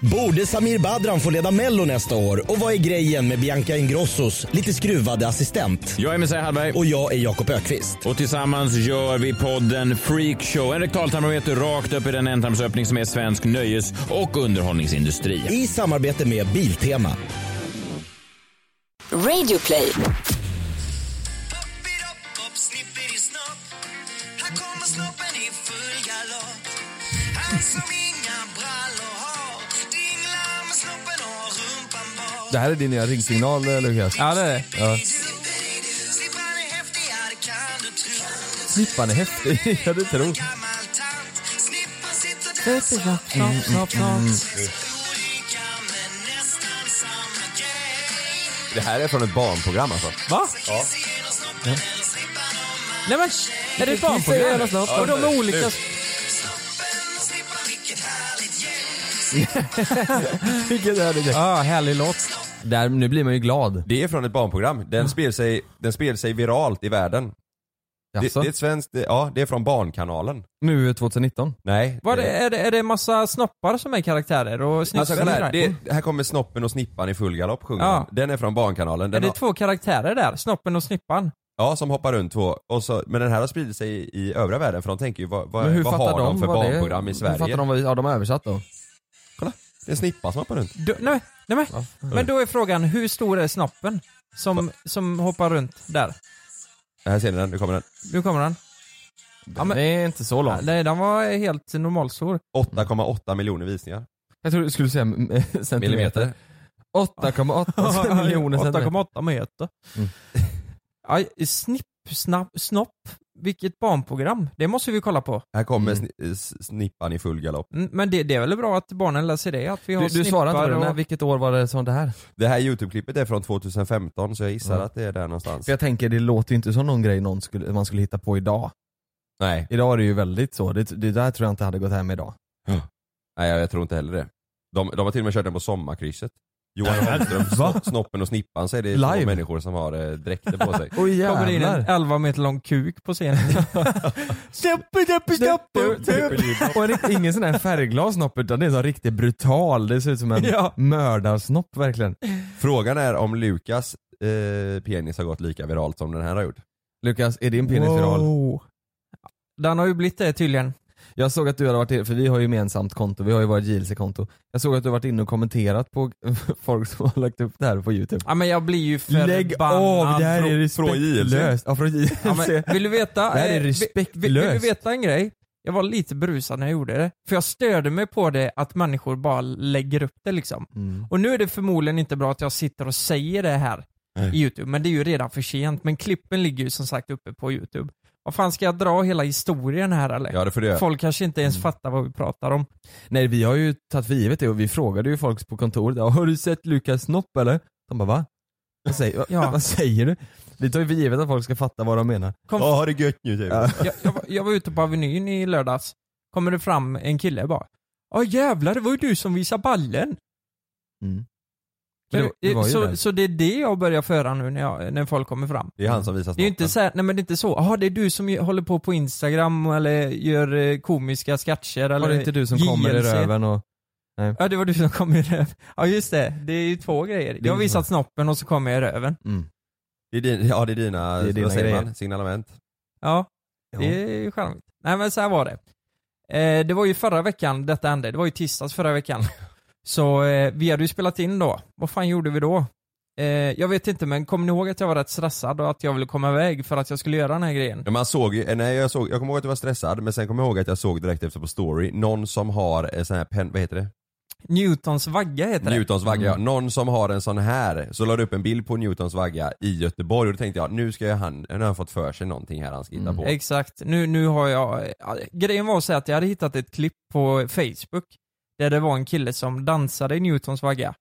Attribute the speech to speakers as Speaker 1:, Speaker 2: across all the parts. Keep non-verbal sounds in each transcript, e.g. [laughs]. Speaker 1: Borde Samir Badran få leda Mello nästa år? Och vad är grejen med Bianca Ingrossos lite skruvade assistent?
Speaker 2: Jag är Messiah Hallberg
Speaker 1: Och jag är Jakob Ökvist.
Speaker 2: och tillsammans gör vi podden Freak Show. En rektaltarmometer rakt upp i den ändtarmsöppning som är svensk nöjes och underhållningsindustri.
Speaker 1: I samarbete med Biltema.
Speaker 3: Radio play.
Speaker 4: Det här är din nya ringsignal eh, Lukas.
Speaker 5: Ja, det är det.
Speaker 4: Ja. Snippan är häftig, ja det tror
Speaker 6: Det här är från ett barnprogram alltså.
Speaker 5: Va? Ja. Nej men, är det ett barnprogram? Och de är olika... [laughs]
Speaker 4: Vilken härlig grej.
Speaker 5: Ja, härlig låt.
Speaker 4: Där, nu blir man ju glad.
Speaker 6: Det är från ett barnprogram. Den spelade sig, den spelade sig viralt i världen. Det, det
Speaker 4: Jaså?
Speaker 6: är ett svenskt, det, ja det är från Barnkanalen.
Speaker 4: Nu 2019.
Speaker 6: Nej.
Speaker 5: Vad är, det, är, det, är det massa snoppar som är karaktärer och snitsar?
Speaker 6: Alltså kolla här, det, här kommer Snoppen och Snippan i full galopp sjunger
Speaker 5: Ja.
Speaker 6: han. Den är från Barnkanalen.
Speaker 5: är
Speaker 6: Den
Speaker 5: det
Speaker 6: har,
Speaker 5: två karaktärer där? Snoppen och Snippan?
Speaker 6: ja, som hoppar runt två. Och så, men den här har spridit sig i, i övriga världen för de tänker ju vad,
Speaker 4: Men
Speaker 6: vad,
Speaker 4: hur
Speaker 6: vad
Speaker 4: fattar
Speaker 6: har de
Speaker 4: de
Speaker 6: för
Speaker 4: vad det är?
Speaker 6: barnprogram i
Speaker 4: Hur fattar
Speaker 6: Sverige?
Speaker 4: de vad vi, ja de har översatt då.
Speaker 6: Det är en snippa som hoppar runt.
Speaker 5: Du, nej, nej, men. men då är frågan, hur stor är snoppen som, som hoppar runt där?
Speaker 6: Här ser ni den, nu kommer den.
Speaker 5: Nu kommer han. Ja, men-
Speaker 4: Det är inte så långt.
Speaker 5: Nej, den var helt
Speaker 4: [laughs]
Speaker 5: normalstor.
Speaker 6: 8,8 miljoner visningar.
Speaker 4: Jag trodde du skulle säga mm, eh, [laughs] centimeter. [laughs] 8,8 miljoner centimeter.
Speaker 5: 8,8 meter. [laughs]
Speaker 4: Mm.
Speaker 5: Ja, snipp, snapp, snopp. Vilket barnprogram. Det måste vi kolla på.
Speaker 6: Här kommer
Speaker 4: Mm.
Speaker 6: sni- eh, s- Snippan i full galopp.
Speaker 5: Mm, Men det, det är väl bra att barnen lär sig det? Att vi har
Speaker 4: Du, du
Speaker 5: snippar
Speaker 4: svarar inte på det,
Speaker 5: och...
Speaker 4: men vilket år var det som det här?
Speaker 6: Det här YouTube-klippet är från 2015 så jag gissar
Speaker 4: Mm.
Speaker 6: att det är där någonstans.
Speaker 4: För jag tänker det låter ju inte som någon grej någon skulle, man skulle hitta på idag.
Speaker 6: Nej.
Speaker 4: Idag är det ju väldigt så, det, det där tror jag inte hade gått hem idag.
Speaker 6: Nej jag, jag tror inte heller det. De, de har till och med kört den på sommarkrysset. Johan Holmström, Sno- Snoppen och Snippan så är det två
Speaker 4: Live.
Speaker 6: människor som har eh, dräkter på
Speaker 4: [laughs]
Speaker 6: sig.
Speaker 4: Oj
Speaker 5: Kommer det in en
Speaker 4: jävlar.
Speaker 5: 11 meter lång kuk på scenen.
Speaker 4: [laughs]
Speaker 5: Stoppa, stoppa,
Speaker 4: Och en, rikt- ingen sån här färgglad snopp utan det är en sån riktigt brutal, det ser ut som en
Speaker 5: Ja.
Speaker 4: mördarsnopp verkligen.
Speaker 6: Frågan är om Lukas eh, penis har gått lika viralt som den här har gjort.
Speaker 4: Lukas, är din penis viral?
Speaker 5: Wow. Den har ju blivit det tydligen.
Speaker 4: Jag såg att du hade varit inne, för vi har ju gemensamt konto, vi har ju vårt JLC-konto. Jag såg att du har varit inne och kommenterat på [laughs] folk som har lagt upp det här på youtube.
Speaker 5: Ja men jag blir ju förbannad.
Speaker 4: Lägg av, det här är
Speaker 6: från JLC.
Speaker 4: respektlöst. Ja, från JLC.
Speaker 5: Ja,
Speaker 4: [laughs]
Speaker 5: men, vill du veta?
Speaker 4: Det här är
Speaker 5: eh, vi- vi- Vill, du
Speaker 4: respektlöst.
Speaker 5: veta en grej? Jag var lite brusad när jag gjorde det. För jag störde mig på det att människor bara lägger upp det liksom.
Speaker 4: Mm.
Speaker 5: Och nu är det förmodligen inte bra att jag sitter och säger det här i youtube, men det är ju redan för sent. Men klippen ligger ju som sagt uppe på youtube. Vad fan, ska jag dra hela historien här eller?
Speaker 6: Ja det får du göra.
Speaker 5: Folk kanske inte
Speaker 4: Mm.
Speaker 5: ens fattar vad vi pratar om.
Speaker 4: Nej vi har ju tagit för givet det och vi frågade ju folk på kontoret, "Ja, har du sett Lukas snopp eller? De bara va? Vad säger, vad-
Speaker 5: [laughs] Ja.
Speaker 4: [laughs] vad säger du? Vi tar ju för givet att folk ska fatta vad de menar.
Speaker 5: Kom,
Speaker 6: Ja, har det gött nu typ.
Speaker 5: jag, jag, var- jag var ute på Avenyn i lördags, kommer det fram en kille bara Ja jävlar, det var ju du som visade ballen.
Speaker 4: Mm. För det- det var ju
Speaker 5: så,
Speaker 4: det.
Speaker 5: så det är det jag börjar föra nu när, jag, när folk kommer fram.
Speaker 6: Det är han som visar
Speaker 5: Det är ju
Speaker 6: snoppen.
Speaker 5: inte så här, nej men det är inte så, jaha det är du som ju- håller på på instagram eller gör eh, komiska sketcher eller
Speaker 4: Var det inte du som kommer i
Speaker 5: JLC?
Speaker 4: röven och...
Speaker 5: Ja det var du som kom i röven. Ja just det, det är ju två grejer. Jag har
Speaker 4: ju
Speaker 5: visat snoppen och så kom jag i röven.
Speaker 4: Mm.
Speaker 6: Det är din, ja det är dina,
Speaker 4: Det är dina
Speaker 6: vad säger
Speaker 4: grejer.
Speaker 6: man? signalement.
Speaker 5: Ja, det är ju charmigt. Nej men så här var det. Eh, det var ju förra veckan detta hände, det var ju tisdags förra veckan. Så eh, vi hade ju spelat in då. Vad fan gjorde vi då? Eh, jag vet inte men kommer ni ihåg att jag var rätt stressad och att jag ville komma iväg för att jag skulle göra den här grejen?
Speaker 6: Ja, man såg ju, eh, nej, jag, såg, jag kommer ihåg att jag var stressad men sen kommer jag ihåg att jag såg direkt efter på story, någon som har eh, sån här pen, vad heter det?
Speaker 5: Newtons vagga heter det.
Speaker 6: Newtons vagga,
Speaker 5: Mm.
Speaker 6: ja. Någon som har en sån här, så la du upp en bild på Newtons vagga i Göteborg och då tänkte jag nu ska jag han, nu har han fått för sig någonting här han ska hitta
Speaker 4: Mm.
Speaker 6: på.
Speaker 5: Exakt, nu, nu har jag... ja, Grejen var så här att jag hade hittat ett klipp på Facebook där det var en kille som dansade i Newtons vagga.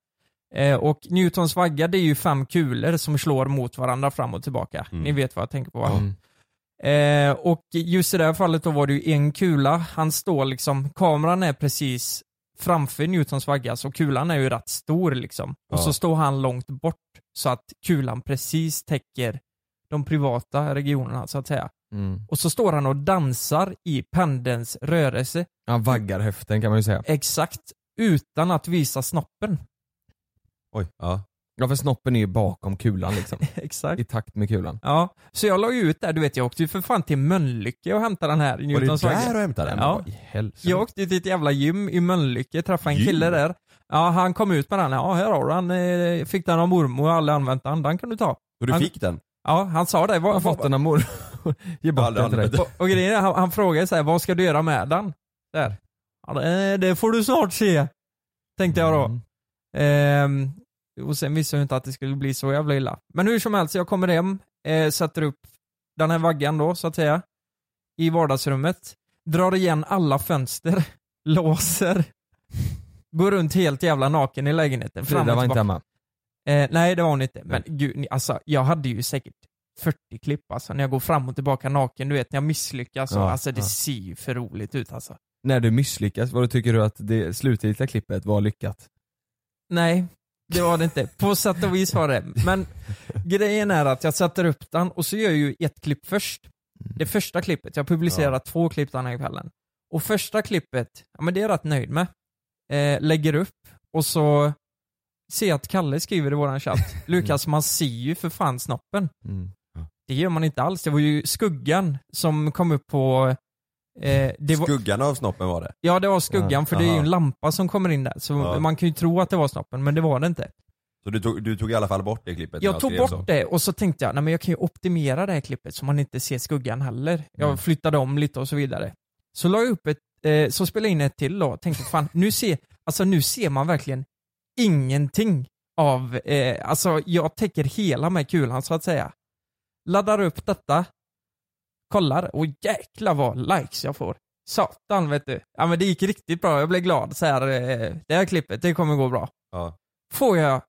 Speaker 5: Eh, och Newtons vagga det är ju fem kulor som slår mot varandra fram och tillbaka.
Speaker 6: Mm.
Speaker 5: Ni vet vad jag tänker på va?
Speaker 4: Mm.
Speaker 5: Eh, och just i det här fallet då var det ju en kula, han står liksom, kameran är precis framför Newtons vagga så kulan är ju rätt stor liksom. Och
Speaker 6: Ja.
Speaker 5: så står han långt bort så att kulan precis täcker de privata regionerna så att säga.
Speaker 4: Mm.
Speaker 5: Och så står han och dansar i pendelns rörelse.
Speaker 4: Han vaggar höften kan man ju säga.
Speaker 5: Exakt utan att visa snoppen. [laughs]
Speaker 6: Oj, ja.
Speaker 4: Ja för snoppen är ju bakom kulan liksom.
Speaker 5: Exakt.
Speaker 4: I takt med kulan.
Speaker 5: Ja, så jag la ju ut där, du vet jag åkte ju för fan till Mölnlycke och hämtade den här i
Speaker 6: Var det
Speaker 5: Newtons
Speaker 6: där
Speaker 5: vagga.
Speaker 6: du hämtade den?
Speaker 5: Ja.
Speaker 4: I helsike.
Speaker 5: Jag åkte ju till ett jävla gym i Mölnlycke, träffade en
Speaker 6: Gym?
Speaker 5: kille där. Ja, han kom ut med den. Ja, här har du den. Eh, Fick den av mormor och aldrig använt den. Den kan du ta.
Speaker 6: Och du
Speaker 5: Han-
Speaker 6: fick den?
Speaker 5: Ja, han sa det.
Speaker 4: Jag har
Speaker 5: Vad,
Speaker 4: fått
Speaker 5: vad,
Speaker 4: den av mor. Ge bort den till dig.
Speaker 5: och, och grejen är, han, han frågade så här, vad ska du göra med den? Där. Ja, det, det får du snart se. Tänkte jag då.
Speaker 4: Mm.
Speaker 5: Ehm, och sen visste jag inte att det skulle bli så jävla illa. Men hur som helst, jag kommer hem, eh, sätter upp den här vaggan då så att säga. I vardagsrummet. Drar igen alla fönster. [laughs] Låser. Går runt helt jävla naken i lägenheten. fram och
Speaker 4: Frida var inte
Speaker 5: tillbaka.
Speaker 4: hemma.
Speaker 5: Eh, nej, det var hon inte. Men gud, ni, alltså, jag hade ju säkert 40 klipp alltså, när jag går fram och tillbaka naken. Du vet, när jag misslyckas. och
Speaker 4: Ja,
Speaker 5: alltså, det
Speaker 4: ja.
Speaker 5: ser ju för roligt ut alltså.
Speaker 4: När du misslyckas, vad tycker du att det slutgiltiga klippet var lyckat?
Speaker 5: Nej, det var det inte. På sätt och vis var det. Men grejen är att jag sätter upp den och så gör jag ju ett klipp först. Det första klippet. Jag publicerar två klipp den här kvällen. Och första klippet, ja men det är jag rätt nöjd med. Eh, lägger upp och så ser jag att Kalle skriver i våran chatt. Lukas, man ser ju för fan snoppen.
Speaker 4: Mm.
Speaker 5: Det gör man inte alls. Det var ju skuggan som kom upp på... Eh, det var,
Speaker 6: Skuggan av snoppen var det.
Speaker 5: ja, det var skuggan för det är ju en lampa som kommer in där. Så
Speaker 6: Ja.
Speaker 5: man kan ju tro att det var snoppen, men det var det inte.
Speaker 6: Så du tog, du tog i alla fall bort det klippet? när
Speaker 5: Jag tog
Speaker 6: skrev så.
Speaker 5: bort det och så tänkte jag, nej men jag kan ju optimera det här klippet så man inte ser skuggan heller.
Speaker 6: Mm.
Speaker 5: Jag flyttade om lite och så vidare. Så la jag upp ett, eh, så spelade jag in ett till då och tänkte fan, nu ser, alltså nu ser man verkligen ingenting av, eh, alltså jag täcker hela med kulan så att säga. Laddar upp detta, kollar och jäklar vad likes jag får. Satan vet du. Ja men det gick riktigt bra, jag blev glad så här, eh, det här klippet, det kommer gå bra
Speaker 6: Ja.
Speaker 5: får jag,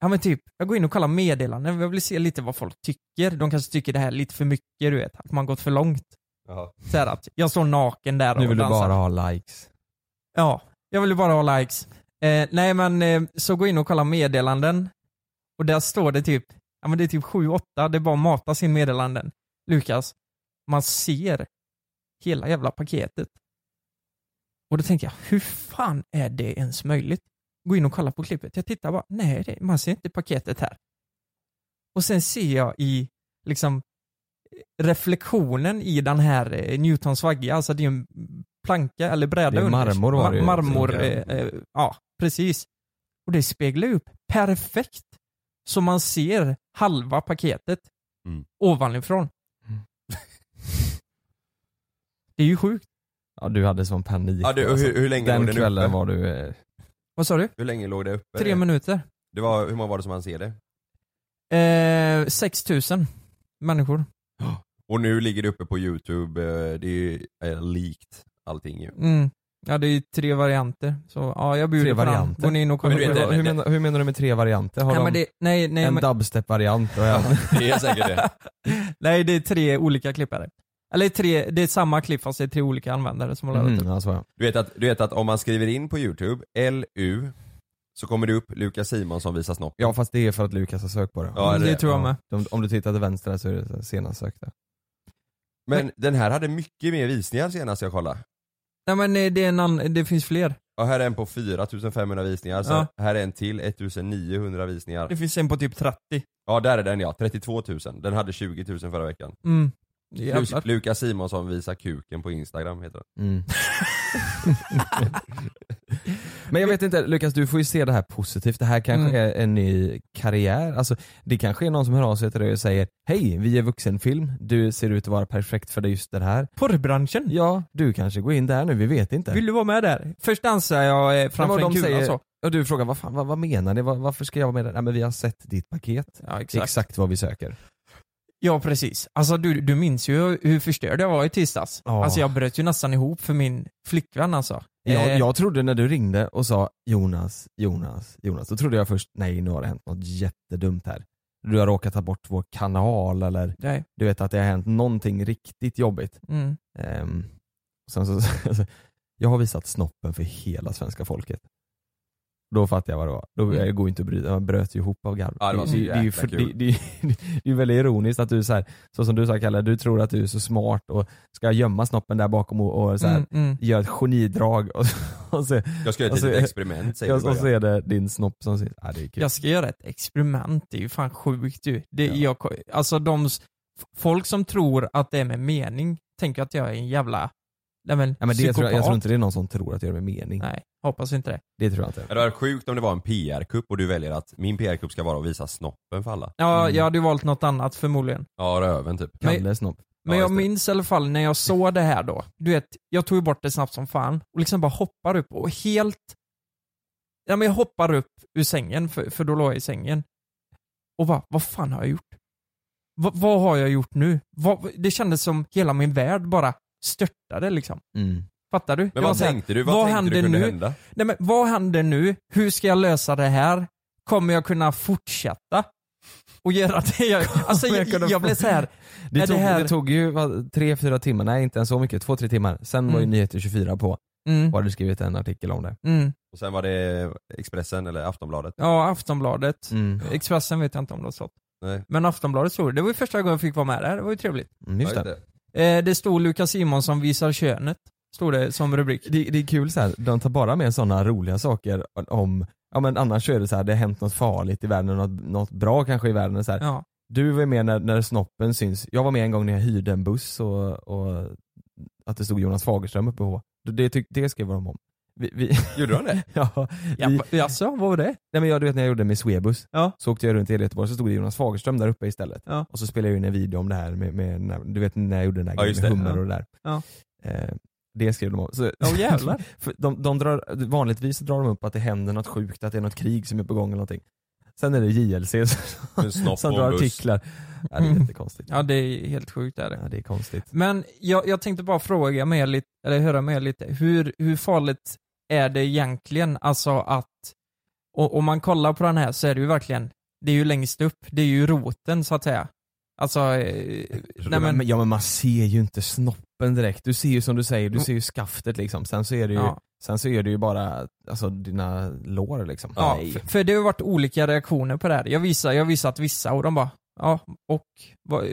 Speaker 5: ja men typ, jag går in och kollar meddelanden, jag vill se lite vad folk tycker. De kanske tycker det här är lite för mycket, du vet, att man gått för långt.
Speaker 6: Ja.
Speaker 5: Så här att jag står naken där och
Speaker 4: Nu vill du
Speaker 5: dansar.
Speaker 4: bara ha likes.
Speaker 5: Ja, jag vill ju bara ha likes. Eh, nej men, eh, så gå in och kolla meddelanden. Och där står det typ, ja men det är typ 7-8, det är bara att mata sin meddelanden. Lukas, man ser hela jävla paketet. Och då tänker jag, hur fan är det ens möjligt? Gå in och kolla på klippet. Jag tittar bara, nej det, man ser inte paketet här. Och sen ser jag i, liksom, reflektionen i den här eh, Newtons vagga, alltså det är ju en planka eller bräda
Speaker 4: Det är
Speaker 5: under.
Speaker 4: marmor var det ju.
Speaker 5: Marmor,
Speaker 6: Ja.
Speaker 5: eh, eh, ja precis. Och det speglar ju upp perfekt. Så man ser halva paketet
Speaker 6: Mm.
Speaker 5: ovanifrån.
Speaker 4: Mm.
Speaker 5: det är ju sjukt.
Speaker 4: Ja du hade sån panik.
Speaker 6: ja du, och
Speaker 4: alltså.
Speaker 6: hur, hur länge
Speaker 4: Den
Speaker 6: låg den
Speaker 4: kvällen
Speaker 6: uppe?
Speaker 4: var du... Eh,
Speaker 5: Vad sa du?
Speaker 6: Hur länge låg det uppe?
Speaker 5: Tre minuter.
Speaker 6: Det var, hur många var det som han ser det?
Speaker 5: Eh, 6000 människor.
Speaker 6: Och nu ligger det uppe på youtube, eh, det är ju eh, likt allting ju.
Speaker 5: Mm. Ja det är ju tre varianter. Så ja, jag bjuder
Speaker 4: Tre
Speaker 5: på den.
Speaker 4: varianter?
Speaker 5: Går ni in och kollar
Speaker 6: Men du
Speaker 5: på
Speaker 6: vet,
Speaker 5: det.
Speaker 6: det-
Speaker 4: hur, hur, menar, hur menar du med tre varianter? Har
Speaker 5: Nej,
Speaker 4: de
Speaker 5: men det, nej, nej,
Speaker 4: en
Speaker 5: men,
Speaker 6: [laughs]
Speaker 4: dubstep-variant och en...
Speaker 6: Det är
Speaker 5: [laughs]
Speaker 6: säkert det.
Speaker 5: nej det är tre olika klippare. Eller tre, det är samma klipp fast det är tre olika användare som har laddat
Speaker 4: Mm,
Speaker 5: upp.
Speaker 4: ja, så ja.
Speaker 6: Du vet, att, du vet att om man skriver in på youtube, LU, så kommer det upp Lukas Simonsson visar snopp.
Speaker 4: ja fast det är för att Lukas har sökt på det.
Speaker 6: Ja,
Speaker 5: det,
Speaker 6: det-
Speaker 5: tror jag med.
Speaker 4: Om, om du tittar till vänster där så är det senast sökta.
Speaker 6: Men den här hade mycket mer visningar senast jag kollade.
Speaker 5: Nej men eh, det, är en annan, det finns fler.
Speaker 6: Ja, här är en på 4500 visningar, så
Speaker 5: Ja.
Speaker 6: här är en till 1900 visningar.
Speaker 5: Det finns en på typ 30.
Speaker 6: Ja där är den ja, 32 000. Den hade 20 000 förra veckan.
Speaker 5: Mm.
Speaker 6: Lu-
Speaker 5: Jävlar.
Speaker 6: Lukas Simonsson visar kuken på instagram heter den.
Speaker 4: Mm. [laughs] Men jag vet inte, Lukas du får ju se det här positivt. Det här kanske
Speaker 5: Mm.
Speaker 4: är en ny karriär. Alltså, det kanske är någon som hör av sig till dig och säger Hej, vi är vuxenfilm. Du ser ut att vara perfekt för dig just det här.
Speaker 5: Porrbranschen.
Speaker 4: Ja, du kanske går in där nu, vi vet inte.
Speaker 5: Mm. Vill du vara med där? Först dansar jag eh, framför
Speaker 4: Ja, men
Speaker 5: en
Speaker 4: de
Speaker 5: kula
Speaker 4: säger-
Speaker 5: så.
Speaker 4: Och du frågar vad, fan, vad, vad menar ni? Vad- varför ska jag vara med där? Nej men vi har sett ditt paket.
Speaker 5: Ja,
Speaker 4: Det är
Speaker 5: exakt.
Speaker 4: exakt vad vi söker.
Speaker 5: Ja, precis. Alltså du, du minns ju hur förstörd jag var i tisdags.
Speaker 4: Ja.
Speaker 5: Alltså jag bröt ju nästan ihop för min flickvän alltså.
Speaker 4: Jag,
Speaker 5: Eh,
Speaker 4: jag trodde när du ringde och sa Jonas, Jonas, Jonas, då trodde jag först nej nu har det hänt något jättedumt här. Du har råkat ta bort vår kanal eller
Speaker 5: Nej.
Speaker 4: du vet att det har hänt någonting riktigt jobbigt.
Speaker 5: Mm.
Speaker 4: Ehm, [laughs] alltså, och sen så, jag har visat snoppen för hela svenska folket. Då fattar jag vad det var. Då det går ju inte att bryta, man bröt ju ihop av garv.
Speaker 6: Mm. Ja, det var så
Speaker 4: är ju [laughs]
Speaker 6: jäkla
Speaker 4: för-
Speaker 6: kul.
Speaker 4: det, det, det, det är väldigt ironiskt att du så här, så som du sa Kalle, du tror att du är så smart och ska gömma snoppen där bakom och, och så här,
Speaker 5: Mm, mm.
Speaker 4: gör ett genidrag och, [laughs] och, så,
Speaker 6: Jag ska göra ett
Speaker 4: Alltså,
Speaker 6: litet experiment säger
Speaker 4: och,
Speaker 6: du i
Speaker 4: och så
Speaker 6: början.
Speaker 4: är det din snopp som sitter. Ja, det är kul.
Speaker 5: Jag ska göra ett experiment, det är ju fan sjukt ju. Det,
Speaker 4: Ja.
Speaker 5: jag, alltså de, s- folk som tror att det är med mening tänker att jag är en jävla, nej men,
Speaker 4: Ja, men det tror jag, jag
Speaker 5: psykopat.
Speaker 4: tror inte det är någon som tror att det gör det med mening.
Speaker 5: Nej, hoppas inte det.
Speaker 4: Det tror jag inte.
Speaker 6: Det var sjukt om det var en PR-kupp och du väljer att min PR-kupp ska vara att visa snoppen för alla.
Speaker 5: Ja,
Speaker 4: Mm.
Speaker 5: jag hade ju valt något annat förmodligen.
Speaker 6: Ja, röven typ.
Speaker 5: Men-
Speaker 4: Kalle snopp.
Speaker 5: Men
Speaker 6: Ja,
Speaker 5: jag
Speaker 6: just det.
Speaker 5: minns i alla fall när jag såg det här då. Du vet, jag tog ju bort det snabbt som fan och liksom bara hoppar upp och helt... Ja men jag hoppar upp ur sängen, för, för då låg jag i sängen. Och bara, vad fan har jag gjort? Va, vad har jag gjort nu? Vad, det kändes som hela min värld bara störtade liksom.
Speaker 4: Mm.
Speaker 5: Fattar du? Det
Speaker 6: Men
Speaker 5: var
Speaker 6: vad
Speaker 5: så här,
Speaker 6: tänkte du? Vad,
Speaker 5: vad
Speaker 6: tänkte
Speaker 5: händer
Speaker 6: du kunde
Speaker 5: nu?
Speaker 6: hända?
Speaker 5: Nej men vad händer nu? Hur ska jag lösa det här? Kommer jag kunna fortsätta? Och göra det jag... Alltså
Speaker 4: Kommer
Speaker 5: jag,
Speaker 4: jag kunna
Speaker 5: jag, blev så här.
Speaker 4: Det,
Speaker 5: Nej,
Speaker 4: tog,
Speaker 5: det
Speaker 4: det,
Speaker 5: här-
Speaker 4: tog ju vad, tre, fyra timmar, nej inte ens så mycket, två, tre timmar. Sen var ju
Speaker 5: Mm.
Speaker 4: Nyheter 24 på
Speaker 5: Mm,
Speaker 4: och hade skrivit en artikel om det.
Speaker 5: mm.
Speaker 6: Och sen var det Expressen eller Aftonbladet.
Speaker 5: Ja, Aftonbladet.
Speaker 4: Mm.
Speaker 5: Expressen vet jag inte om det har stått.
Speaker 6: Nej.
Speaker 5: Men Aftonbladet stod det. Det var ju första gången jag fick vara med där, det var ju trevligt.
Speaker 4: Mm, just
Speaker 6: Ja,
Speaker 4: det.
Speaker 6: just det.
Speaker 5: Eh, det stod Lukas Simonsson visar könet, stod det som
Speaker 4: [laughs]
Speaker 5: rubrik.
Speaker 4: Det, det är kul så här, de tar bara med sådana roliga saker om, ja men annars så är det så här, det har hänt något farligt i världen, och något, något bra kanske i världen. Så här.
Speaker 5: Ja.
Speaker 4: Du var ju med när, när snoppen syns, jag var med en gång när jag hyrde en buss och, och att det stod Jonas Fagerström uppe på. Det, det, det skrev de om. Vi, vi,
Speaker 6: Gjorde de det?
Speaker 4: [laughs] ja, vi,
Speaker 5: Vi... Jaså, vad var det?
Speaker 4: Nej men jag, du vet när jag gjorde med Swebus,
Speaker 5: Ja.
Speaker 4: så åkte jag runt i hela Göteborg så stod det Jonas Fagerström där uppe istället.
Speaker 5: Ja.
Speaker 4: Och så spelade jag in en video om det här med, med när, du vet när jag gjorde den där
Speaker 6: Ja,
Speaker 4: grejen
Speaker 6: just
Speaker 4: med
Speaker 6: det.
Speaker 4: hummer
Speaker 5: Ja.
Speaker 4: och det där.
Speaker 5: Ja.
Speaker 4: Eh, det skrev de om. Så,
Speaker 5: Ja, jävlar.
Speaker 4: för de, de drar, vanligtvis drar de upp att det händer något sjukt, att det är något krig som är på gång eller någonting. Sen är det JLC
Speaker 6: En
Speaker 4: [laughs]
Speaker 6: snopp
Speaker 4: som
Speaker 6: på en
Speaker 4: drar
Speaker 6: buss.
Speaker 4: artiklar. Ja, det är
Speaker 5: Mm. [laughs]
Speaker 4: jättekonstigt.
Speaker 5: Ja, det är helt sjukt är det.
Speaker 4: Ja, det är konstigt.
Speaker 5: Men jag, jag tänkte bara fråga med er lite, eller höra med er lite, hur, hur farligt är det egentligen, alltså att, och, om man kollar på den här så är det ju verkligen, det är ju längst upp, det är ju roten så att säga. Alltså, eh, nej men,
Speaker 4: ja men man ser ju inte snoppen direkt. Du ser ju som du säger, du ser ju skaftet liksom. Sen så är det ju,
Speaker 5: Mm. ja.
Speaker 4: sen så är det ju bara alltså, dina lår liksom.
Speaker 5: Ja, för, för det har varit olika reaktioner på det här. Jag visar, jag visat vissa och de bara Ja, och vad,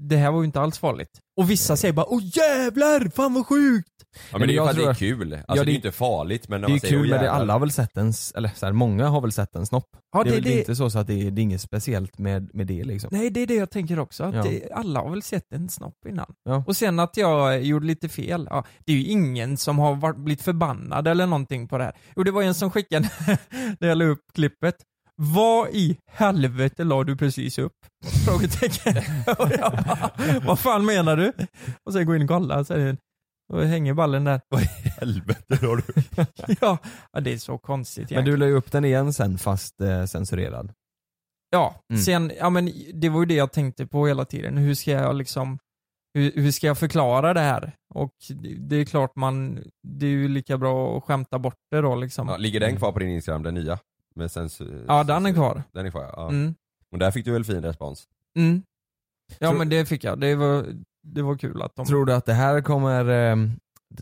Speaker 5: det här var ju inte alls farligt. Och vissa säger bara Åh jävlar, fan vad sjukt!
Speaker 6: Ja, men det är ju
Speaker 4: jag
Speaker 6: för att det
Speaker 4: tror-
Speaker 6: är kul. Alltså,
Speaker 4: Ja,
Speaker 6: det,
Speaker 4: det-
Speaker 6: är ju inte farligt men när
Speaker 4: Det är
Speaker 6: man
Speaker 4: ju
Speaker 6: säger
Speaker 4: kul
Speaker 6: "Åh,
Speaker 4: men det,
Speaker 6: jävlar."
Speaker 4: alla har väl sett en, s- eller så här, många har väl sett en snopp.
Speaker 5: Ja,
Speaker 4: det,
Speaker 5: det,
Speaker 4: är väl
Speaker 5: det,
Speaker 4: inte så, så att det, är, det är inget speciellt med, med det liksom.
Speaker 5: Nej, det är det jag tänker också. Att
Speaker 4: Ja.
Speaker 5: det, alla har väl sett en snopp innan.
Speaker 4: Ja.
Speaker 5: Och sen att jag eh, gjorde lite fel. Ja, det är ju ingen som har varit, blivit förbannad eller någonting på det här. Jo, det var en som skickade [laughs] när jag la upp klippet. Vad i helvete la du precis upp? [laughs] Frågetecken. [laughs] Och jag bara, Vad fan menar du? Och sen går jag in och kollar så är det, och hänger ballen där.
Speaker 6: [laughs]
Speaker 5: [laughs]
Speaker 6: Helvete har du.
Speaker 5: Ja, ja, det är så konstigt
Speaker 4: Men
Speaker 5: egentligen.
Speaker 4: du la ju upp den igen sen fast eh, censurerad.
Speaker 5: Ja,
Speaker 4: Mm.
Speaker 5: sen, ja men det var ju det jag tänkte på hela tiden. Hur ska jag liksom, hur, hur ska jag förklara det här? Och det- det är klart man, det är ju lika bra att skämta bort det då liksom.
Speaker 6: Ja,
Speaker 5: Ja,
Speaker 6: ligger den kvar på din Instagram, den nya? Men sen,
Speaker 5: den är kvar.
Speaker 6: Den är kvar ja.
Speaker 5: Mm.
Speaker 6: Men där fick du väl fin respons?
Speaker 5: Mm. Ja
Speaker 4: Tror-
Speaker 5: men det fick jag. Det var, det var kul att de...
Speaker 4: Tror du att det här kommer, eh,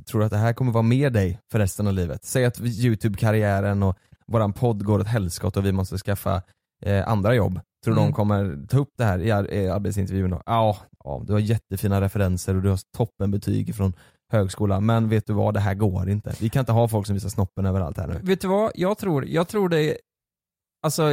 Speaker 4: tror du att det här kommer vara med dig för resten av livet? Säg att vi- YouTube-karriären och våran podd går åt helskott och vi måste skaffa eh, andra jobb. Tror du
Speaker 5: Mm.
Speaker 4: de kommer ta upp det här i ar- i arbetsintervjun då? Ja, ja, du har jättefina referenser och du har toppenbetyg från högskolan men vet du vad, det här går inte. Vi kan inte ha folk som visar snoppen överallt här nu.
Speaker 5: Vet du vad? Jag tror, jag tror det, alltså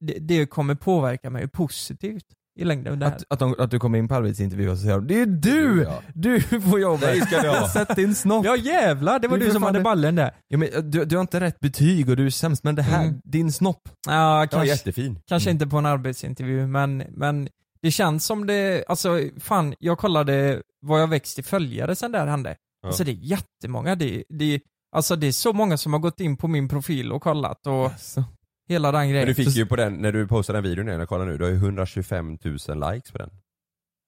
Speaker 5: det, det kommer påverka mig positivt i längden. Det här.
Speaker 4: Att, att, de, att du kommer in på arbetsintervju och så säger de, det är du!
Speaker 6: Ja.
Speaker 4: Du [laughs] får jobbet!
Speaker 6: Det ska vi ha.
Speaker 4: Sätt din snopp!
Speaker 5: Ja jävlar, det var
Speaker 4: Det
Speaker 5: du
Speaker 4: är för
Speaker 5: som
Speaker 4: fan
Speaker 5: hade
Speaker 4: det-
Speaker 5: ballen där.
Speaker 4: Ja, men, eh, du, du har inte rätt betyg och du är sämst men det här,
Speaker 5: Mm.
Speaker 4: din snopp
Speaker 5: Ja,
Speaker 6: Ja,
Speaker 5: kanske.
Speaker 6: jättefin.
Speaker 5: Kanske inte på en arbetsintervju, men, men det känns som det, alltså fan, jag kollade vad jag växt i följare sen där hände.
Speaker 6: Ja.
Speaker 5: Alltså det är jättemånga, det, det, alltså det är så många som har gått in på min profil och kollat och
Speaker 4: Alltså.
Speaker 5: hela den
Speaker 6: Men
Speaker 5: grejen.
Speaker 6: du fick ju på den, när du postade den videon igen, jag kollar nu, du har ju 125 000 likes på den.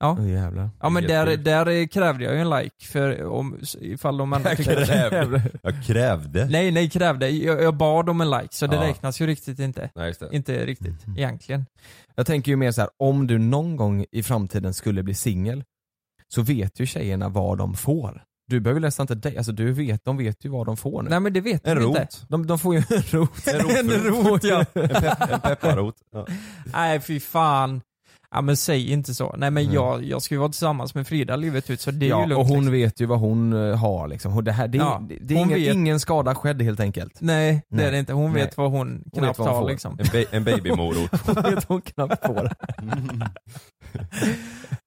Speaker 4: Åh jävlar.
Speaker 5: Ja men
Speaker 6: Helt
Speaker 5: där,
Speaker 6: sjukt.
Speaker 5: där krävde jag ju en like för om, ifall de
Speaker 6: [laughs]
Speaker 5: andra tyckte...
Speaker 6: Jag krävde.
Speaker 5: Nej, nej krävde, jag, jag bad om en like så det
Speaker 6: Ja. Mm.
Speaker 5: räknas ju riktigt inte.
Speaker 6: Nej just det.
Speaker 5: Inte riktigt,
Speaker 4: Mhm.
Speaker 5: egentligen.
Speaker 4: Jag tänker ju mer så här, om du någon gång i framtiden skulle bli singel så vet ju tjejerna vad de får. Du behöver nästan inte dig, alltså du vet, de vet ju vad de får nu.
Speaker 5: Nej men det vet
Speaker 6: Mm. En
Speaker 5: de
Speaker 6: rot.
Speaker 5: inte. De, de får ju [laughs] en
Speaker 4: [laughs]
Speaker 5: rot.
Speaker 6: En rot.
Speaker 5: rot ja.
Speaker 6: [laughs] En pepparrot. [laughs] Ja.
Speaker 5: Nej fy fan. Ja men säg inte så. Nej men jag, jag ska ju vara tillsammans med Frida livet ut så det är ju
Speaker 4: Mm. ja,
Speaker 5: lugnt.
Speaker 4: och hon
Speaker 5: liksom.
Speaker 4: vet ju vad hon eh, har liksom. Och det, här, det, är-
Speaker 5: Ja,
Speaker 4: det, det är
Speaker 5: hon
Speaker 4: ingen,
Speaker 5: vet.
Speaker 4: ingen skada skedd helt [laughs] enkelt.
Speaker 5: Nej det
Speaker 4: Nej.
Speaker 5: är det inte. Hon
Speaker 4: Nej.
Speaker 5: vet vad hon knappt
Speaker 4: vad hon
Speaker 5: har
Speaker 4: får.
Speaker 5: liksom.
Speaker 6: En, ba- en babymorot.
Speaker 4: Hon vet hon knappt får.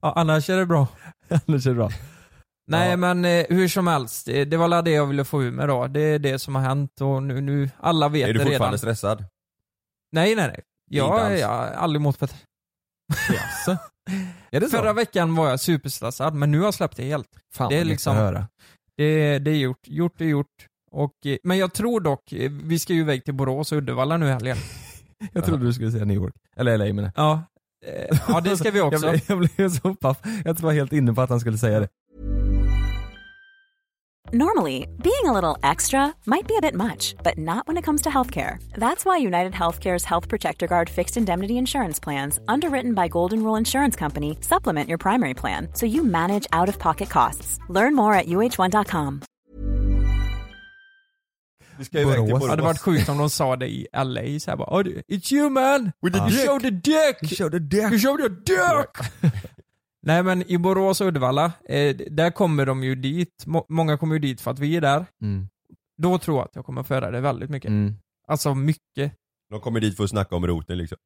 Speaker 5: Ja, annars är det bra.
Speaker 4: [laughs] Annars är det bra.
Speaker 5: Nej
Speaker 4: Ja.
Speaker 5: men eh, hur som helst, eh, det var alla det jag ville få ur mig då. Det är det som har hänt och nu, nu alla vet
Speaker 6: Är du
Speaker 5: det
Speaker 6: fortfarande
Speaker 5: redan.
Speaker 6: stressad?
Speaker 5: Nej nej nej.
Speaker 6: Inte
Speaker 5: Jag,
Speaker 6: alls.
Speaker 5: jag har aldrig mått bättre.
Speaker 4: Jaså? Är det så?
Speaker 5: Förra veckan var jag superstressad men nu har jag släppt det helt.
Speaker 4: Fan,
Speaker 5: det är
Speaker 4: vad gött
Speaker 5: liksom-
Speaker 4: att höra.
Speaker 5: Det, det är gjort, gjort är gjort. Och, eh, men jag tror dock, eh, vi ska ju iväg till Borås och Uddevalla nu i helgen.
Speaker 4: Jag trodde du skulle säga New York. Eller LA menar jag.
Speaker 5: Ja, eh, ja det ska vi
Speaker 4: [laughs] Jag
Speaker 5: också.
Speaker 4: blev, jag blev så paff. Jag tror jag var helt inne på att han skulle säga det.
Speaker 3: Normally, being a little extra might be a bit much, but not when it comes to healthcare. That's why United Healthcare's Health Protector Guard fixed indemnity insurance plans, underwritten by Golden Rule Insurance Company, supplement your primary plan so you manage out of pocket costs. Learn more at uh1.com.
Speaker 6: Vi ska iväg till
Speaker 4: Borås.
Speaker 5: Det hade varit
Speaker 6: Borås.
Speaker 5: sjukt om de sa det i LA såhär bara "Oh, It's you man!
Speaker 6: With the
Speaker 5: You
Speaker 6: dick."
Speaker 5: showed the dick!
Speaker 4: körde det.
Speaker 5: You showed your dick! Nej men i Borås och Uddevalla, eh, där kommer de ju dit. Må- många kommer ju dit för att vi är där.
Speaker 4: Mm.
Speaker 5: Då tror jag att jag kommer föra det väldigt mycket.
Speaker 4: Mm.
Speaker 5: Alltså mycket.
Speaker 6: De kommer dit för att snacka om roten liksom.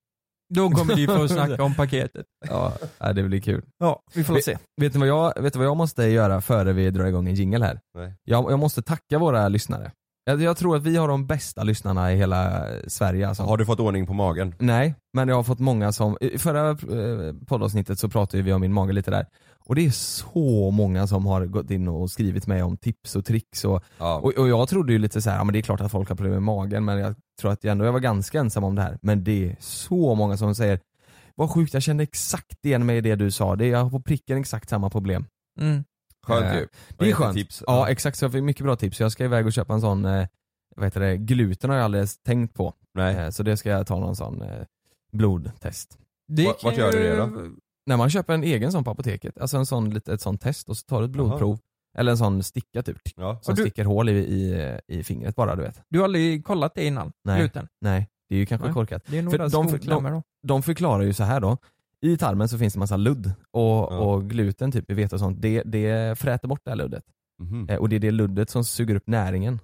Speaker 5: Då kommer vi få snacka om paketet.
Speaker 4: Ja, ja, det blir kul.
Speaker 5: Ja, vi får se.
Speaker 4: Vet ni vad jag, vet ni vad jag måste göra före vi drar igång en jingle här?
Speaker 6: Nej.
Speaker 4: Jag, jag måste tacka våra lyssnare. Jag, jag tror att vi har de bästa lyssnarna i hela Sverige. Alltså.
Speaker 6: Har du fått ordning på magen?
Speaker 4: Nej, men jag har fått många som, i förra eh, poddavsnittet så pratade ju vi om min mage lite där. Och det är så många som har gått in och skrivit mig om tips och tricks och,
Speaker 6: Ja.
Speaker 4: och, och jag trodde ju lite så här, ja men det är klart att folk har problem med magen men jag tror att jag ändå jag var ganska ensam om det här. Men det är så många som säger, vad sjukt jag kände exakt igen mig i det du sa, det är, jag har på pricken exakt samma problem.
Speaker 5: Mm.
Speaker 6: Skönt
Speaker 4: Eh,
Speaker 6: ju.
Speaker 4: Det är
Speaker 6: Jättetips.
Speaker 4: skönt. Ja exakt, så jag fick mycket bra tips. Jag ska iväg och köpa en sån, eh, vad heter det, gluten har jag aldrig ens tänkt på.
Speaker 6: Nej.
Speaker 4: Eh, Så det ska jag ta någon sån eh, blodtest.
Speaker 5: Det eh,
Speaker 6: Vart-
Speaker 5: kan
Speaker 6: vart gör du
Speaker 5: ju-
Speaker 6: det
Speaker 4: När man köper en egen sån på apoteket, alltså en sån, lite- ett sånt test och så tar du ett blodprov, eller en sån sticka typ,
Speaker 6: Ja.
Speaker 4: som
Speaker 5: du-
Speaker 4: sticker hål i, i, i fingret bara du vet.
Speaker 5: Du har aldrig kollat det innan?
Speaker 4: Nej.
Speaker 5: Gluten?
Speaker 4: Nej, det är ju kanske
Speaker 5: Nej.
Speaker 4: korkat.
Speaker 5: Det är nog
Speaker 4: För
Speaker 5: deras
Speaker 4: de- de-
Speaker 5: skolklämmar då.
Speaker 4: De förklarar ju så här då, i tarmen så finns det massa ludd och, och gluten typ i vete och sånt, det, det fräter bort det här luddet.
Speaker 6: Mhm.
Speaker 4: Eh, Och det är det luddet som suger upp näringen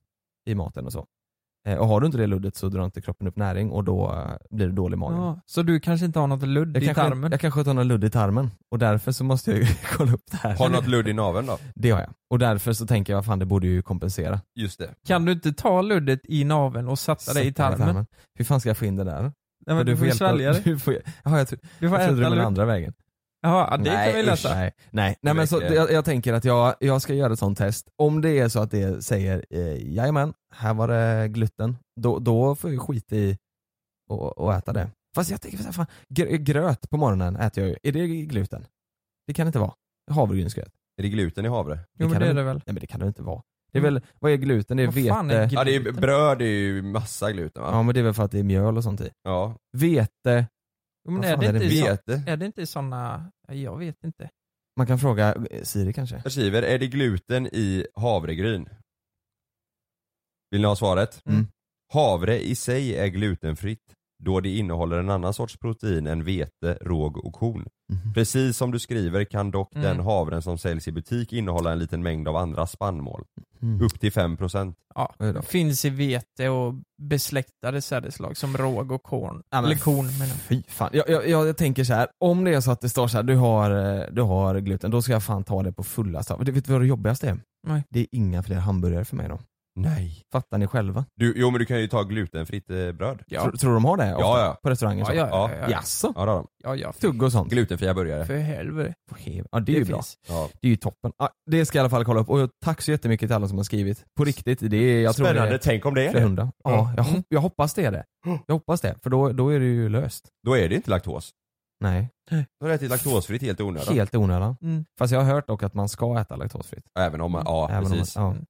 Speaker 4: i maten och så. Eh, Och har du inte det luddet så drar inte kroppen upp näring och då eh, blir det dålig mage.
Speaker 5: Ja, så du kanske inte har något ludd
Speaker 4: Jag
Speaker 5: i
Speaker 4: kanske,
Speaker 5: tarmen?
Speaker 4: jag kanske har något ludd i tarmen och därför så måste jag ju [laughs] kolla upp det här.
Speaker 5: Alltså,
Speaker 6: Har du något ludd i naveln då?
Speaker 4: Det har jag. Och därför så tänker jag, fan det borde ju kompensera.
Speaker 6: Just det.
Speaker 5: Kan du inte ta luddet i naveln och sätta det i
Speaker 4: Sätta
Speaker 5: tarmen?
Speaker 4: Hur fan ska jag få in det där?
Speaker 5: Nej, men du får
Speaker 4: hjälpa-
Speaker 5: svälja det.
Speaker 4: [laughs] Du får, jaha, jag, tro,
Speaker 5: Du får
Speaker 4: jag trodde det
Speaker 5: äta
Speaker 4: var den
Speaker 5: ludd.
Speaker 4: andra vägen.
Speaker 5: Ja, det kan vi
Speaker 4: usch,
Speaker 5: läsa.
Speaker 4: Nej, nej. nej men så,
Speaker 6: räcker.
Speaker 4: jag, jag tänker att jag, jag ska göra ett sånt test. Om det är så att det säger eh, jajamän, här var det gluten, då, då får jag skit i och, och äta det. Fast jag tänker, så här, fan, gr- gröt på morgonen äter jag ju. Är det gluten? Det kan det inte vara. Havregrynsgröt.
Speaker 6: Är det gluten i havre?
Speaker 5: Jo men
Speaker 4: kan
Speaker 5: det är
Speaker 4: väl-
Speaker 5: det väl. Mm.
Speaker 4: Nej men det kan det inte vara. Det är väl, vad är gluten? Det är
Speaker 5: Vad fan är
Speaker 4: vete.
Speaker 5: gluten?
Speaker 6: Ja det är bröd är ju massa gluten va?
Speaker 4: Ja men det är väl för att det är mjöl och sånt i.
Speaker 6: Ja.
Speaker 4: Vete,
Speaker 5: Jo, men
Speaker 4: Vad
Speaker 5: är
Speaker 4: fan
Speaker 5: det,
Speaker 4: är det?
Speaker 5: inte i så,
Speaker 6: Vete.
Speaker 5: är det inte i sådana... ja, Jag vet inte.
Speaker 4: man kan fråga eh, Siri kanske.
Speaker 6: Jag skriver, är det gluten i havregryn? Vill ni ha svaret?
Speaker 4: Mm.
Speaker 6: Havre i sig är glutenfritt då det innehåller en annan sorts protein än vete, råg och korn. Precis som du skriver kan dock
Speaker 5: Mm.
Speaker 6: den havren som säljs i butik innehålla en liten mängd av andra spannmål.
Speaker 4: Mm.
Speaker 6: Upp till 5%.
Speaker 5: Ja,
Speaker 4: Oj då.
Speaker 5: finns i vete och besläktade sädesslag som råg och korn.
Speaker 4: Ja, men
Speaker 5: Eller korn menar jag.
Speaker 4: Fy fan. Jag, jag, jag tänker så här. om det är så att det står så här, du har, eh, du har gluten, då ska jag fan ta det på fulla stav. Vet du vad det jobbigaste är?
Speaker 5: Nej.
Speaker 4: Det är inga fler hamburgare för mig då.
Speaker 6: Nej.
Speaker 4: Fattar ni själva?
Speaker 6: Du, jo men du kan ju ta glutenfritt eh, bröd.
Speaker 5: Ja.
Speaker 4: Tror, tror de har det ofta
Speaker 6: Ja, ja.
Speaker 4: på restaurangen? så?
Speaker 5: Ja, ja, ja, ja.
Speaker 4: Jaså?
Speaker 6: Ja, det har de.
Speaker 5: Ja, ja, för,
Speaker 4: Tugg och sånt?
Speaker 6: Glutenfria burgare.
Speaker 5: för helvete.
Speaker 4: På hev- Ja det är ju bra.
Speaker 5: finns.
Speaker 6: Ja.
Speaker 4: Det är ju toppen. Ja, det ska jag i alla fall kolla upp och tack så jättemycket till alla som har skrivit. På riktigt, det är, jag tror
Speaker 6: Spännande, Mm.
Speaker 4: det är
Speaker 6: tänk om det är
Speaker 4: flera
Speaker 6: det.
Speaker 4: hundra. Ja, jag, hop- jag hoppas det är det. Jag hoppas det, för då, då är det ju löst.
Speaker 6: Då är det inte laktos.
Speaker 4: Nej,
Speaker 6: Då har du ätit laktosfritt helt i onödan.
Speaker 4: helt i onödan.
Speaker 5: Mm.
Speaker 4: Fast jag har hört dock att man ska äta laktosfritt.
Speaker 6: Även om man, ja
Speaker 4: Även om mm. man-
Speaker 6: precis. Mm.
Speaker 4: ja.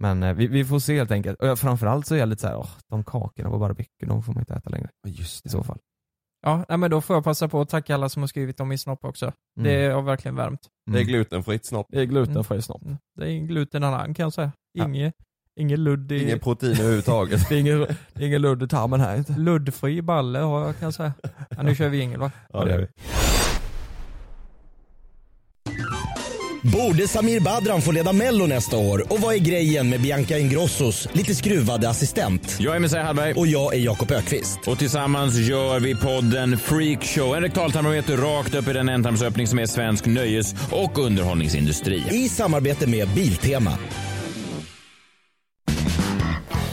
Speaker 4: Men eh, vi, vi får se helt enkelt. Och jag- framförallt så är jag lite såhär, åh, de kakorna på barbecue, de får man inte äta längre
Speaker 6: Just
Speaker 4: i så fall.
Speaker 5: Ja, nej, men då får jag passa på att tacka alla som har skrivit om min snopp också.
Speaker 4: Mm.
Speaker 5: Det har verkligen värmt.
Speaker 6: Det är glutenfritt snopp.
Speaker 4: Det är glutenfri snopp.
Speaker 5: Mm. Det är ingen glutenalarm kan jag säga. Inge, ingen ludd i...
Speaker 6: Ingen protein
Speaker 4: [laughs]
Speaker 6: överhuvudtaget.
Speaker 4: Det är ingen, det är ingen ludd i tarmen här inte.
Speaker 5: Luddfri balle har jag kan jag säga. Ja, nu kör vi jingel va?
Speaker 6: ja, det är vi.
Speaker 1: Borde Samir Badran få leda Mello nästa år? Och vad är grejen med Bianca Ingrossos lite skruvade assistent?
Speaker 2: Jag är Messiah Hallberg.
Speaker 1: Och jag är Jakob Ökvist.
Speaker 2: Och tillsammans gör vi podden Freakshow. En rektaltarmometer rakt upp i den ändtarmsöppning som är svensk nöjes och underhållningsindustri.
Speaker 1: I samarbete med Biltema.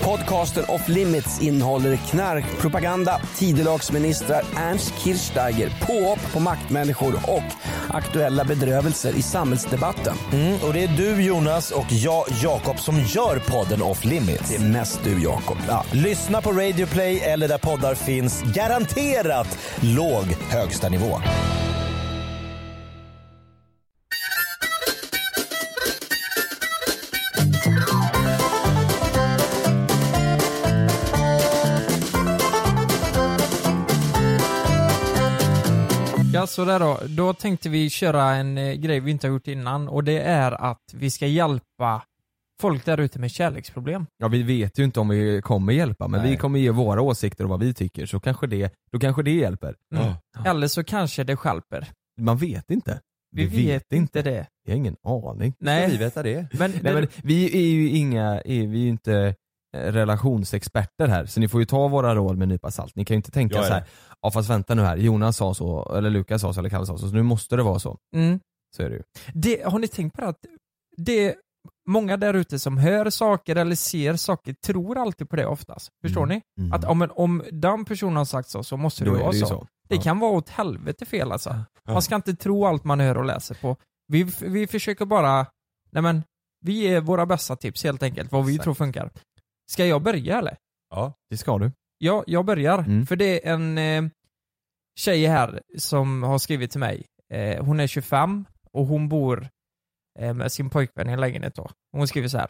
Speaker 7: Podcasten Off Limits innehåller knarkpropaganda, tidelagsministrar, Ernst Kirchsteiger, påhopp på maktmänniskor och aktuella bedrövelser i samhällsdebatten.
Speaker 1: Mm, och det är du Jonas och jag Jakob som gör podden Off Limits.
Speaker 7: Det är mest du Jakob. Ja.
Speaker 1: Lyssna på Radio Play eller där poddar finns. Garanterat låg högsta nivå.
Speaker 5: Ja, så där då. Då tänkte vi köra en eh, grej vi inte har gjort innan och det är att vi ska hjälpa folk där ute med kärleksproblem.
Speaker 4: Ja vi vet ju inte om vi kommer hjälpa men
Speaker 1: Nej.
Speaker 4: vi kommer ge våra åsikter och vad vi tycker så kanske det, då kanske det hjälper.
Speaker 5: Mm. Eller så kanske det stjälper.
Speaker 4: Man vet inte.
Speaker 5: Vi vet, inte det.
Speaker 4: Jag har ingen aning.
Speaker 5: Nej.
Speaker 6: vi veta det?
Speaker 5: Men,
Speaker 4: Nej, men vi är ju inga, är, vi är ju inte eh, relationsexperter här så ni får ju ta våra råd med en nypa salt. Ni kan ju inte tänka
Speaker 6: Jag är
Speaker 4: så här. ja fast vänta nu här, Jonas sa så, eller Lukas sa så, eller Kalle sa så, så nu måste det vara så.
Speaker 5: mm.
Speaker 4: Så är det ju.
Speaker 5: det, har ni tänkt på det att det är många där ute som hör saker eller ser saker tror alltid på det oftast. Förstår
Speaker 4: Mm.
Speaker 5: ni? Att om, en, om den personen har sagt så, så måste det
Speaker 4: Då är
Speaker 5: vara
Speaker 4: det
Speaker 5: så.
Speaker 4: ju så.
Speaker 5: Det
Speaker 4: Ja.
Speaker 5: kan vara åt helvete fel alltså. Man ska inte tro allt man hör och läser på. Vi, vi försöker bara, nej men, vi ger våra bästa tips helt enkelt, vad vi
Speaker 4: Exakt.
Speaker 5: tror funkar. Ska jag börja eller?
Speaker 6: Ja.
Speaker 4: Det ska du.
Speaker 5: Ja, jag börjar.
Speaker 4: Mm.
Speaker 5: För det är en eh, tjej här som har skrivit till mig. Eh, hon är 25 och hon bor eh, med sin pojkvän i en lägenhet då. Hon skriver så här.